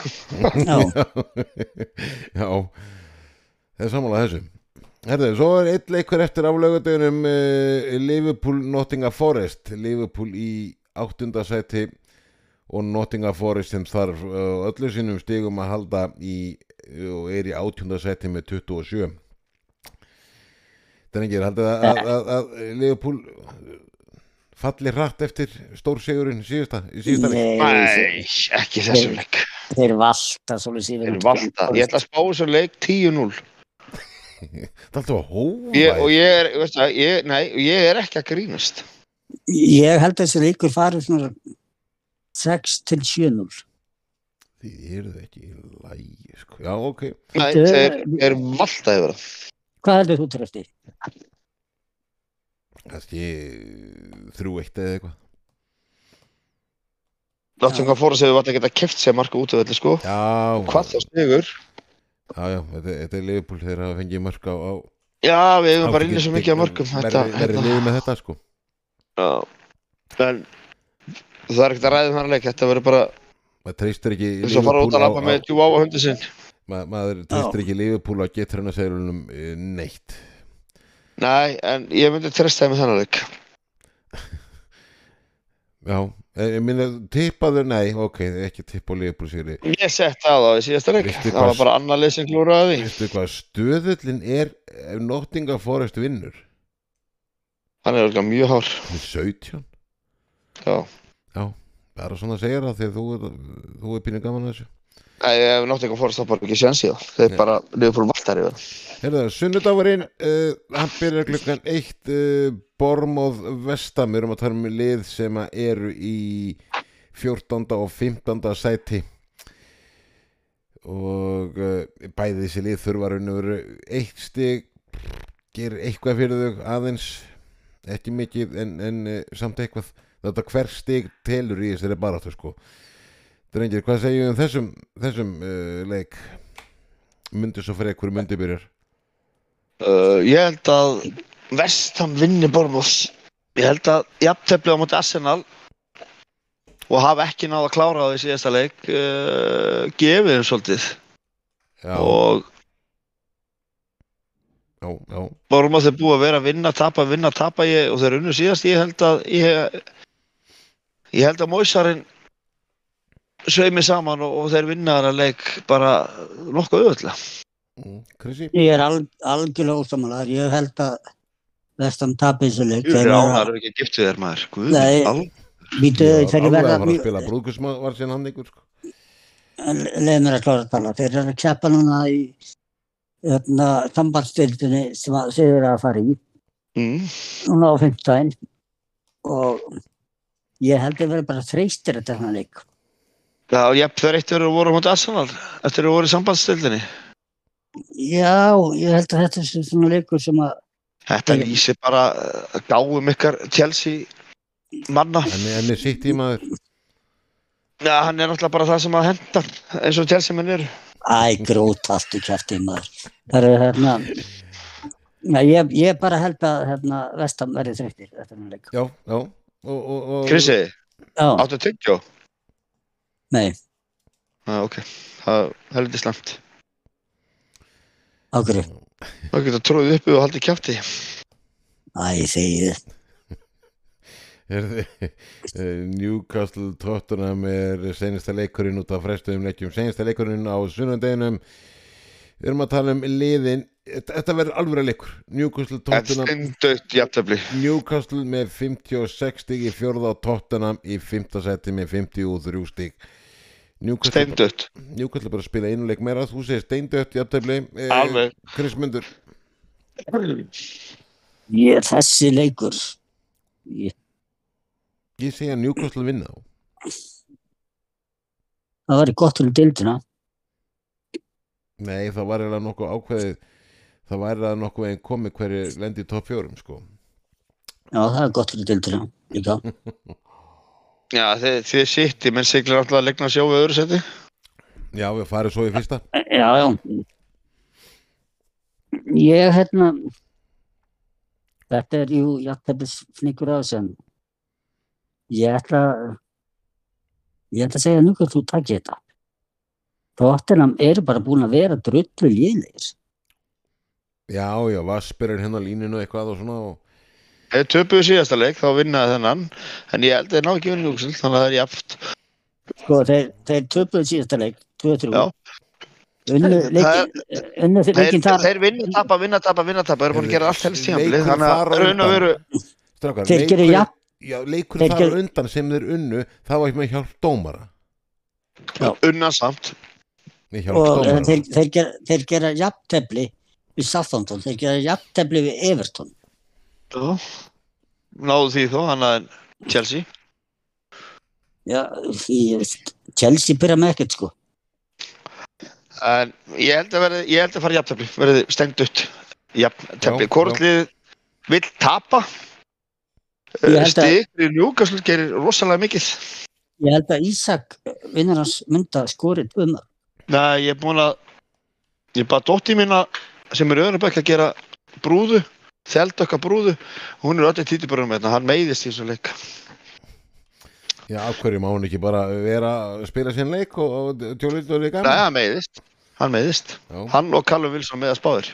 Speaker 3: Já,
Speaker 1: já Það er samanlega þessu Herðu, svo er eitt leikur eftir aflaugadegunum uh, Liverpool Nottingham Forest Liverpool í áttunda sæti og Nottingham Forest sem þarf uh, öllu sínum stigum að halda í og er í áttunda sæti með 27 Drengir, haldið að, að, að, að Liverpool eh, falli hratt eftir stórsigurinn síðasta, í síðasta leik
Speaker 3: nei,
Speaker 2: Nei, ekki í þessum leik.
Speaker 3: þeir valta svolítið síðan.
Speaker 2: Þeir valda. Ég ætla að spá þessu leik 10-0.
Speaker 1: Það er alltaf að hófa
Speaker 2: Ég- Og ég er, veist það, ég, nei, ég er ekki að grínast.
Speaker 3: Ég held að þessi leikur farið svona 6 til 7-0.
Speaker 1: Þið eruð ekki í lægi sko. Já, ok
Speaker 2: Nei,
Speaker 3: Þetta er-
Speaker 2: þeir, þeir valda yfir það.
Speaker 3: Hvað heldur þú trefti?
Speaker 1: Kannski þrjú eitt eða eitthvað
Speaker 2: Nottingham Forest hefur vant að geta keft sér marka út af þetta sko
Speaker 1: Já,
Speaker 2: Hvað þá stigur?
Speaker 1: já, já þetta, þetta er Liverpool þegar að fengi mörg á, á
Speaker 2: Já, við hefum
Speaker 1: á-
Speaker 2: bara inni svo mikið af mörgum um þetta, Hérna.
Speaker 1: Verði- Verði
Speaker 2: þetta.
Speaker 1: liðið með þetta sko
Speaker 2: Já. En það er ekkert að ræða um þannig leik Þetta verður bara
Speaker 1: Maður treystir ekki
Speaker 2: eins og fara út að
Speaker 1: á-
Speaker 2: lafa
Speaker 1: á-
Speaker 2: með djú á hundi sinn
Speaker 1: ma- Maður treystir ekki Liverpool á getur hennar seglunum neitt
Speaker 2: Nei, en ég myndi treysta þeim með þannig leik
Speaker 1: Já, Eh, ég minna tippaður, nei, ok, ekki tippa á Liverpool sigri
Speaker 2: Ég setti að það í síðasta leik
Speaker 1: Veistu
Speaker 2: Það var
Speaker 1: hvað-
Speaker 2: bara annað leik sem glúraði því
Speaker 1: Veistu hvað, stöðullin er ef Nottingham Forest vinnur
Speaker 2: Hann er alveg mjög hár
Speaker 1: Hún er 17
Speaker 2: Já.
Speaker 1: Já, bara svona segir það þegar þú er, þú er pínu gaman að þessu
Speaker 2: Nei, ef Nottingham Forest það bara ekki séns í það Þeir
Speaker 1: Nei.
Speaker 2: bara liðbúin valtar yfir það
Speaker 1: Herða, sunnudagurinn, uh, hann byrjar klukkan eitt uh, Bormóð Vestam, við erum að tala um lið sem að eru í 14. og 15. sæti og uh, bæði þessi lið þurfa raunur eitt stig ger eitthvað fyrir þau aðeins ekki mikið en, en uh, samt eitthvað þetta hver stig telur í þessari baráttu sko drengir, hvað segjum við um þessum, þessum uh, leik myndi svo fyrir hverju myndi byrjar
Speaker 2: Uh, ég held að Vestham vinni Bormos Ég held að jafnteflið á móti Arsenal og hafa ekki náð að klára það í síðasta leik uh, gefið þeim svolítið
Speaker 1: já,
Speaker 2: og
Speaker 1: já, já,
Speaker 2: Bormos er búið að vera að vinna, tapa, vinna, tapa ég, og þeir unnu síðast ég held að ég, ég held að Mósarinn sveimi saman og, og þeir vinna þennan leik bara nokkuð auðvöldlega
Speaker 1: Mm, Krissi
Speaker 3: Ég er alg, algjörlega ósamálaður. Ég held að vestam tapir þessu leik.
Speaker 2: Þeir eru ánæður ekki að gift við þér maður Guð,
Speaker 3: Nei.
Speaker 2: al-
Speaker 3: Býtuðu þeir eru
Speaker 1: alveg
Speaker 3: verða...
Speaker 1: að fara að spila brúðkusma var síðan hann ykkur sko.
Speaker 3: Leðið mér að klára að tala. Þeir eru að keppa núna í hérna, sambandstildinni sem að- þeir eru að fara í.
Speaker 2: mm,
Speaker 3: Núna á fimmtudaginn. Og ég held að vera bara þreystir þetta hann leik.
Speaker 2: Já, jafn, þeir eitt verður að voru á móti Arsenal eftir að voru í sambandstildinni
Speaker 3: Já, ég held að þetta er svona leikur sem að
Speaker 2: Þetta
Speaker 3: Ég-
Speaker 2: lýsir bara uh, gáum ykkar Chelsea manna.
Speaker 1: en, en er sitt í maður
Speaker 2: Ja, hann er náttúrulega bara það sem að henda eins og Chelsea menn eru.
Speaker 3: Æ, grót allt í kæfti maður. Það eru hérna, na, ég, ég bara held að hérna, vestam verði þreyttir eftir hann leik.
Speaker 1: já, já og, og, og,
Speaker 2: Krissi,
Speaker 3: Já,
Speaker 2: áttu tyggjó?
Speaker 3: nei,
Speaker 2: Já, ok. Það það er litið slemt.
Speaker 3: ákveður.
Speaker 2: Það getur tróðið uppi og haldið kjátti.
Speaker 3: Æ, þegið.
Speaker 1: Heyrðu, eh, Newcastle Tottenham er senasta leikurinn út af frestuðum leikjum senasta leikurinn á sunnundeginum við erum að tala um liðin þetta þetta verður alvöru leikur Newcastle
Speaker 2: En
Speaker 1: Tottenham
Speaker 2: stundut jafntefli.
Speaker 1: Newcastle með 56 stig í fjórða og Tottenham í fymta seti með 53 stig Newcastle,
Speaker 2: Stundut.
Speaker 1: Newcastle bara að spila einu leik meira þú segir steindött jafntefli Eh,
Speaker 2: Alveg.
Speaker 1: Kristmundur
Speaker 3: Ég, þessi leikur, ég,
Speaker 1: ég segja Newcastle vinna þá
Speaker 3: það væri gott fyrir dildina.
Speaker 1: Nei, það var eiginlega nokkuð ákveðið það var eiginlega nokkuð einn komið hverju lendi í topp fjórum sko
Speaker 3: Já, það er gott fyrir dildina líka.
Speaker 2: Já, þið, þið sitt, menn siglir alltaf að legna sjó við öðru seti.
Speaker 1: Já, við farið svo í fyrsta
Speaker 3: Já, já. Ég, hérna, þetta er jú jafntefnis fnikur á þessu en ég ætla, ég ætla að segja nú hvað þú takir þetta. Tottenham eru bara búin að vera drullu líðlegir.
Speaker 1: Já, já, Vaspyrir hérna á líninu eitthvað og svona og...
Speaker 2: Þeir töpuðu síðasta leik, þá vinnaði þennan. En ég held að þeir ná ekki vinna Júksil, þannig að það er jafnt.
Speaker 3: Sko, þeir, þeir töpuðu síðasta leik, 2-3.
Speaker 2: Já.
Speaker 3: Unnu
Speaker 2: Það-
Speaker 3: leikin, unnu þeir
Speaker 2: Þeir,
Speaker 3: leikin þar,
Speaker 2: þeir vinna, tapa, vinna, tapa, vinna, tapa. Þeir eru búin að gera allt helst tímanbili.
Speaker 1: Leikur
Speaker 2: Þannig
Speaker 1: þar á
Speaker 2: að raun og
Speaker 1: undan.
Speaker 2: veru
Speaker 1: Strákar,
Speaker 3: þeir gerir
Speaker 1: leikur-
Speaker 3: jafn,
Speaker 1: Já, leikur
Speaker 3: Þeir
Speaker 1: þar
Speaker 3: gerðu-
Speaker 1: undan sem þeir unnu það var ekki með hjálp dómara
Speaker 2: unna samt.
Speaker 1: með hjálp
Speaker 3: og eh,
Speaker 1: dómara
Speaker 3: þeir, þeir, ger, þeir gera jafntefli við Southampton, þeir gera jafntefli við Everton.
Speaker 2: Já. Náðu því þó, hann að Chelsea.
Speaker 3: Já, því, ég veist, Chelsea byrja með ekkert sko.
Speaker 2: En ég held að, verði, ég held að fara jafntefli, verði stengt upp jafntefli.
Speaker 1: Já,
Speaker 2: Kortlið vill tapa.
Speaker 3: Ég held að-
Speaker 2: Stigri Newcastle gerir rosalega mikið.
Speaker 3: Ég held að Ísak, vinnur hans, mynda skorið um það.
Speaker 2: Nei, ég er búin að, ég bara dótti mína sem er öðrubæk að gera brúðu, þeldökka brúðu. Hún er öll í títibrunum hérna, hann meiðist í þessu leik.
Speaker 1: Já, af hverju má hún ekki bara vera að spila sinn leik og, og tjólit og leika
Speaker 2: Nei, hann meiðist. Hann meiðist.
Speaker 1: Já,
Speaker 2: Hann og Callum Wilson meiðast báðir.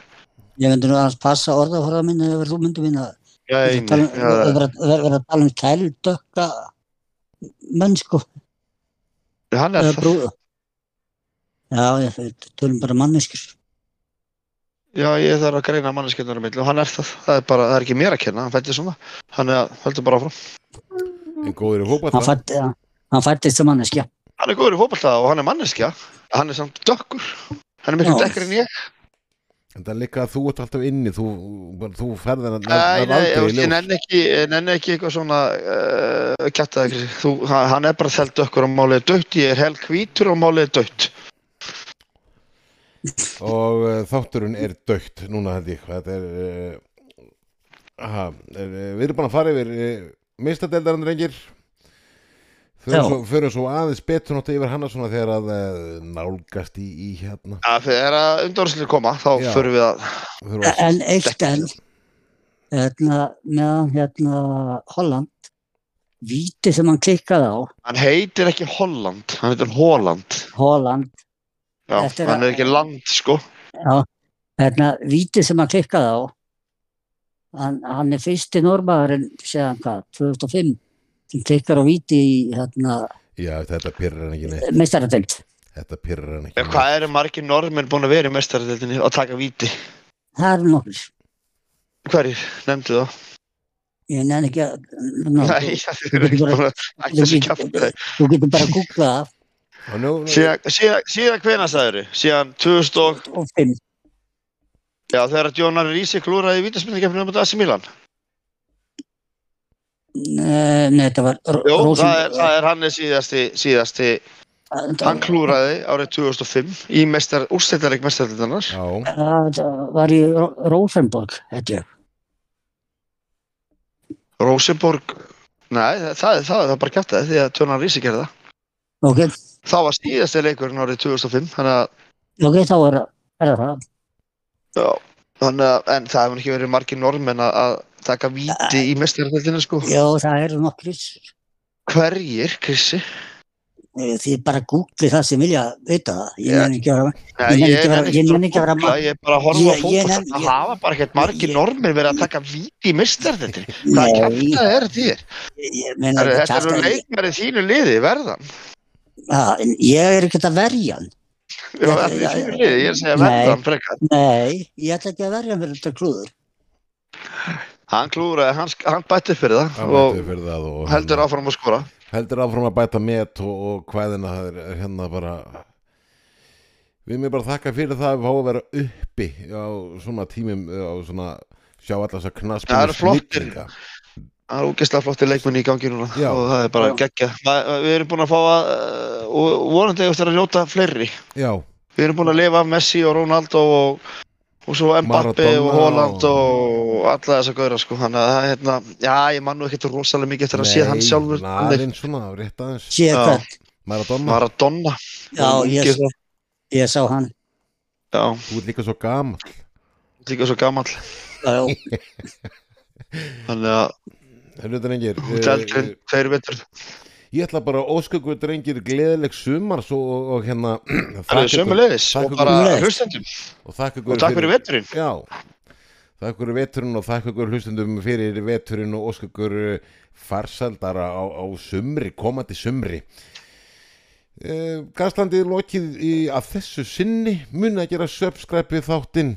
Speaker 3: Ég myndi nú að passa orðaforða minni ef þú myndi minna
Speaker 2: Já,
Speaker 3: að
Speaker 2: einu,
Speaker 3: tala
Speaker 2: já,
Speaker 3: um- vera vera- vera að tala um kældökka menn sko,
Speaker 2: hann er
Speaker 3: eða
Speaker 2: það.
Speaker 3: brúða. Já, ég veit, tölum bara manneskur.
Speaker 2: Já, ég þarf að greina manneskjöndunar mill og hann er það, það er bara, það er ekki mér að kenna, hann fætti svona, hann er, heldur bara áfram.
Speaker 1: en góður í
Speaker 3: Hann
Speaker 1: fótball
Speaker 3: fætt- hann- hann fættist sem manneskja.
Speaker 2: Hann er góður í fótballta og hann er manneskja, hann er samt dökkur, hann er miklu
Speaker 3: Já.
Speaker 2: dekkar en ég.
Speaker 1: En það er líka að þú ert alltaf inni þú, bara, þú ferðan að
Speaker 2: Nei, nei,
Speaker 1: aldrei í
Speaker 2: ég
Speaker 1: ljós
Speaker 2: nenni ekki, ég nenni ekki eitthvað svona uh, kjattaði, Krissi. þú, hann hann er bara þeld dökkur og málið er dött, ég er hel hvítur og málið er dött.
Speaker 1: og uh, þátturinn er dögt núna held ég þetta er, uh, aha, er uh, við erum búin að fara yfir uh, mistadeldarinn rengir
Speaker 3: Já.
Speaker 1: förum svo, förum svo aðeins betur náttúrulega yfir hana svona þegar að uh, nálgast í, í hérna
Speaker 2: Já, þegar að undanúrslitin koma, þá
Speaker 1: Já.
Speaker 2: förum við að
Speaker 1: Förum að-
Speaker 3: en eitt en hérna, meðan hérna Holland víti sem hann klikkaði á
Speaker 2: Hann heitir ekki Holland, hann heitir Holland.
Speaker 3: Holland,
Speaker 2: Já,
Speaker 3: Þetta er
Speaker 2: hann er
Speaker 3: að-
Speaker 2: ekki land, sko.
Speaker 3: hérna víti sem hann klikkaði á hann, hann er fyrsti normaðurinn séðan hvað, 2005 sem klikkar á víti í hérna
Speaker 1: já þetta pyrrar hann ekki neitt
Speaker 3: meistaradelt
Speaker 1: þetta pyrrar hann
Speaker 2: En
Speaker 1: ekki neitt
Speaker 2: hvað eru margir normin búin að vera í mestaradeldinni og taka víti?
Speaker 3: það eru nokkur,
Speaker 2: Hverjir? Nefndu þá?
Speaker 3: ég nefn ekki að ná,
Speaker 2: Nei, það er ekki búin að ætta þessi kjafta.
Speaker 3: þú getur bara að googla það
Speaker 1: og nú, nú,
Speaker 2: Síðan, síðan, síðan hvena sagður þau? Síðan 2000 og,
Speaker 3: og fimm,
Speaker 2: já þegar að Jónar Rísi klúraði í vítaspindikeppinu um AC Milan.
Speaker 3: Eh, nei þetta var Ro-
Speaker 2: Jó,
Speaker 3: Rosen-
Speaker 2: það er, það er hann er síðasti, síðasti, hann klúraði árið 2005 í mestar, úrstættareik mestardeldarnar.
Speaker 1: já,
Speaker 3: Það var í Ro- Rosenborg, held ég.
Speaker 2: Rosenborg, nei það, það, það, það er bara kjafta því að Jónar Rísi gerði það.
Speaker 3: Ok,
Speaker 2: Það var síðasti leikurinn árið 2005, þannig að
Speaker 3: ok, þá er, er það.
Speaker 2: Já, þannig að, en það hefur ekki verið margir normenn að, að taka víti í mestarhaldinu sko.
Speaker 3: Já, það eru nokkur.
Speaker 2: Hverjir, Krissi?
Speaker 3: Eh, Þið bara googli það sem vilja vita það. Ég
Speaker 2: Já.
Speaker 3: nenni ekki að vera...
Speaker 2: Nei,
Speaker 3: Ég nenni ekki að vera- ég nenni ekki að vera
Speaker 2: googla,
Speaker 3: marg-
Speaker 2: Ég er bara að horfa
Speaker 3: Ég-
Speaker 2: á
Speaker 3: ég
Speaker 2: fótboll.
Speaker 3: nenni-
Speaker 2: Það
Speaker 3: ég-
Speaker 2: hafa bara ekkert margir
Speaker 3: ég-
Speaker 2: normenn verið að taka víti í mestarhaldinu. Hvað kæfta er þér?
Speaker 3: Ég, meina,
Speaker 2: Herru, Þetta eru
Speaker 3: kjaftaði-
Speaker 2: leikmæri þínu liði, verðan.
Speaker 3: Já, en ég er ekkert að verja hann.
Speaker 2: Já,
Speaker 3: Já,
Speaker 2: Þetta
Speaker 3: já,
Speaker 2: er þínu
Speaker 3: já.
Speaker 2: liði, ég er að segja
Speaker 3: Nei.
Speaker 2: verðan frekar.
Speaker 3: Nei, ég ætla ekki að verja hann fyrir þetta klúður.
Speaker 2: Hann klúraði, hann, hann bætti upp fyrir það
Speaker 1: hann
Speaker 2: og
Speaker 1: bætti fyrir það og
Speaker 2: heldur áfram að skora.
Speaker 1: heldur áfram að bæta met og, og hvaðina það er- er hérna bara við mér bara þakka fyrir það að við fáum að vera uppi á svona tímum á svona sjá alltaf þess að knaspinu
Speaker 2: Það eru flottir. Það er ógeðslega flottir leikmenni í gangi núna
Speaker 1: Já.
Speaker 2: og það er bara
Speaker 3: Já.
Speaker 2: geggja. Við erum búin að fá að, eh, og vonandi eftir að njóta fleiri.
Speaker 1: já,
Speaker 2: Við erum búin að lifa af Messi og Ronaldo og, og svo Mbappe
Speaker 1: Maradona
Speaker 2: og Holland
Speaker 1: og-
Speaker 2: og alla þessa gauðra sko. Þannig að það er hérna, já ég man nú ekkert rosalega mikið eftir að sé hann sjálfur. Þannig,
Speaker 1: aðeins svona, rétt aðeins
Speaker 3: Sér
Speaker 2: Já.
Speaker 3: hvern.
Speaker 1: Maradona,
Speaker 2: Maradona.
Speaker 3: Já, ég,
Speaker 2: Mikið-
Speaker 3: ég sá hann.
Speaker 2: Já,
Speaker 1: þú ert líka svo gamall
Speaker 2: líka svo gamall.
Speaker 3: Já,
Speaker 2: Þannig að
Speaker 1: Hörru drengir,
Speaker 2: hún
Speaker 1: eh,
Speaker 2: delgrinn, þeir veitur.
Speaker 1: ég ætla bara að ósköku drengir gleðileg sumar svo, og, og hérna
Speaker 2: Það er sömulegis
Speaker 1: takk
Speaker 2: og
Speaker 1: ykkur.
Speaker 2: bara
Speaker 3: Sömuleiðis.
Speaker 2: hlustendum.
Speaker 1: og þakka
Speaker 2: Og
Speaker 1: ykkur
Speaker 2: takk fyrir veturinn.
Speaker 1: Já, þakk ykkur veturinn og þakk ykkur hlustundum fyrir veturinn og ósk ykkur eh, farsældara á, á sumri, komandi sumri. Eh, Gaslandið er lokið í, að þessu sinni, mun að gera subscribe við þáttinn,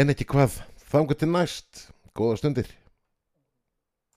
Speaker 1: en ekki hvað, þangu til næst, góða stundir.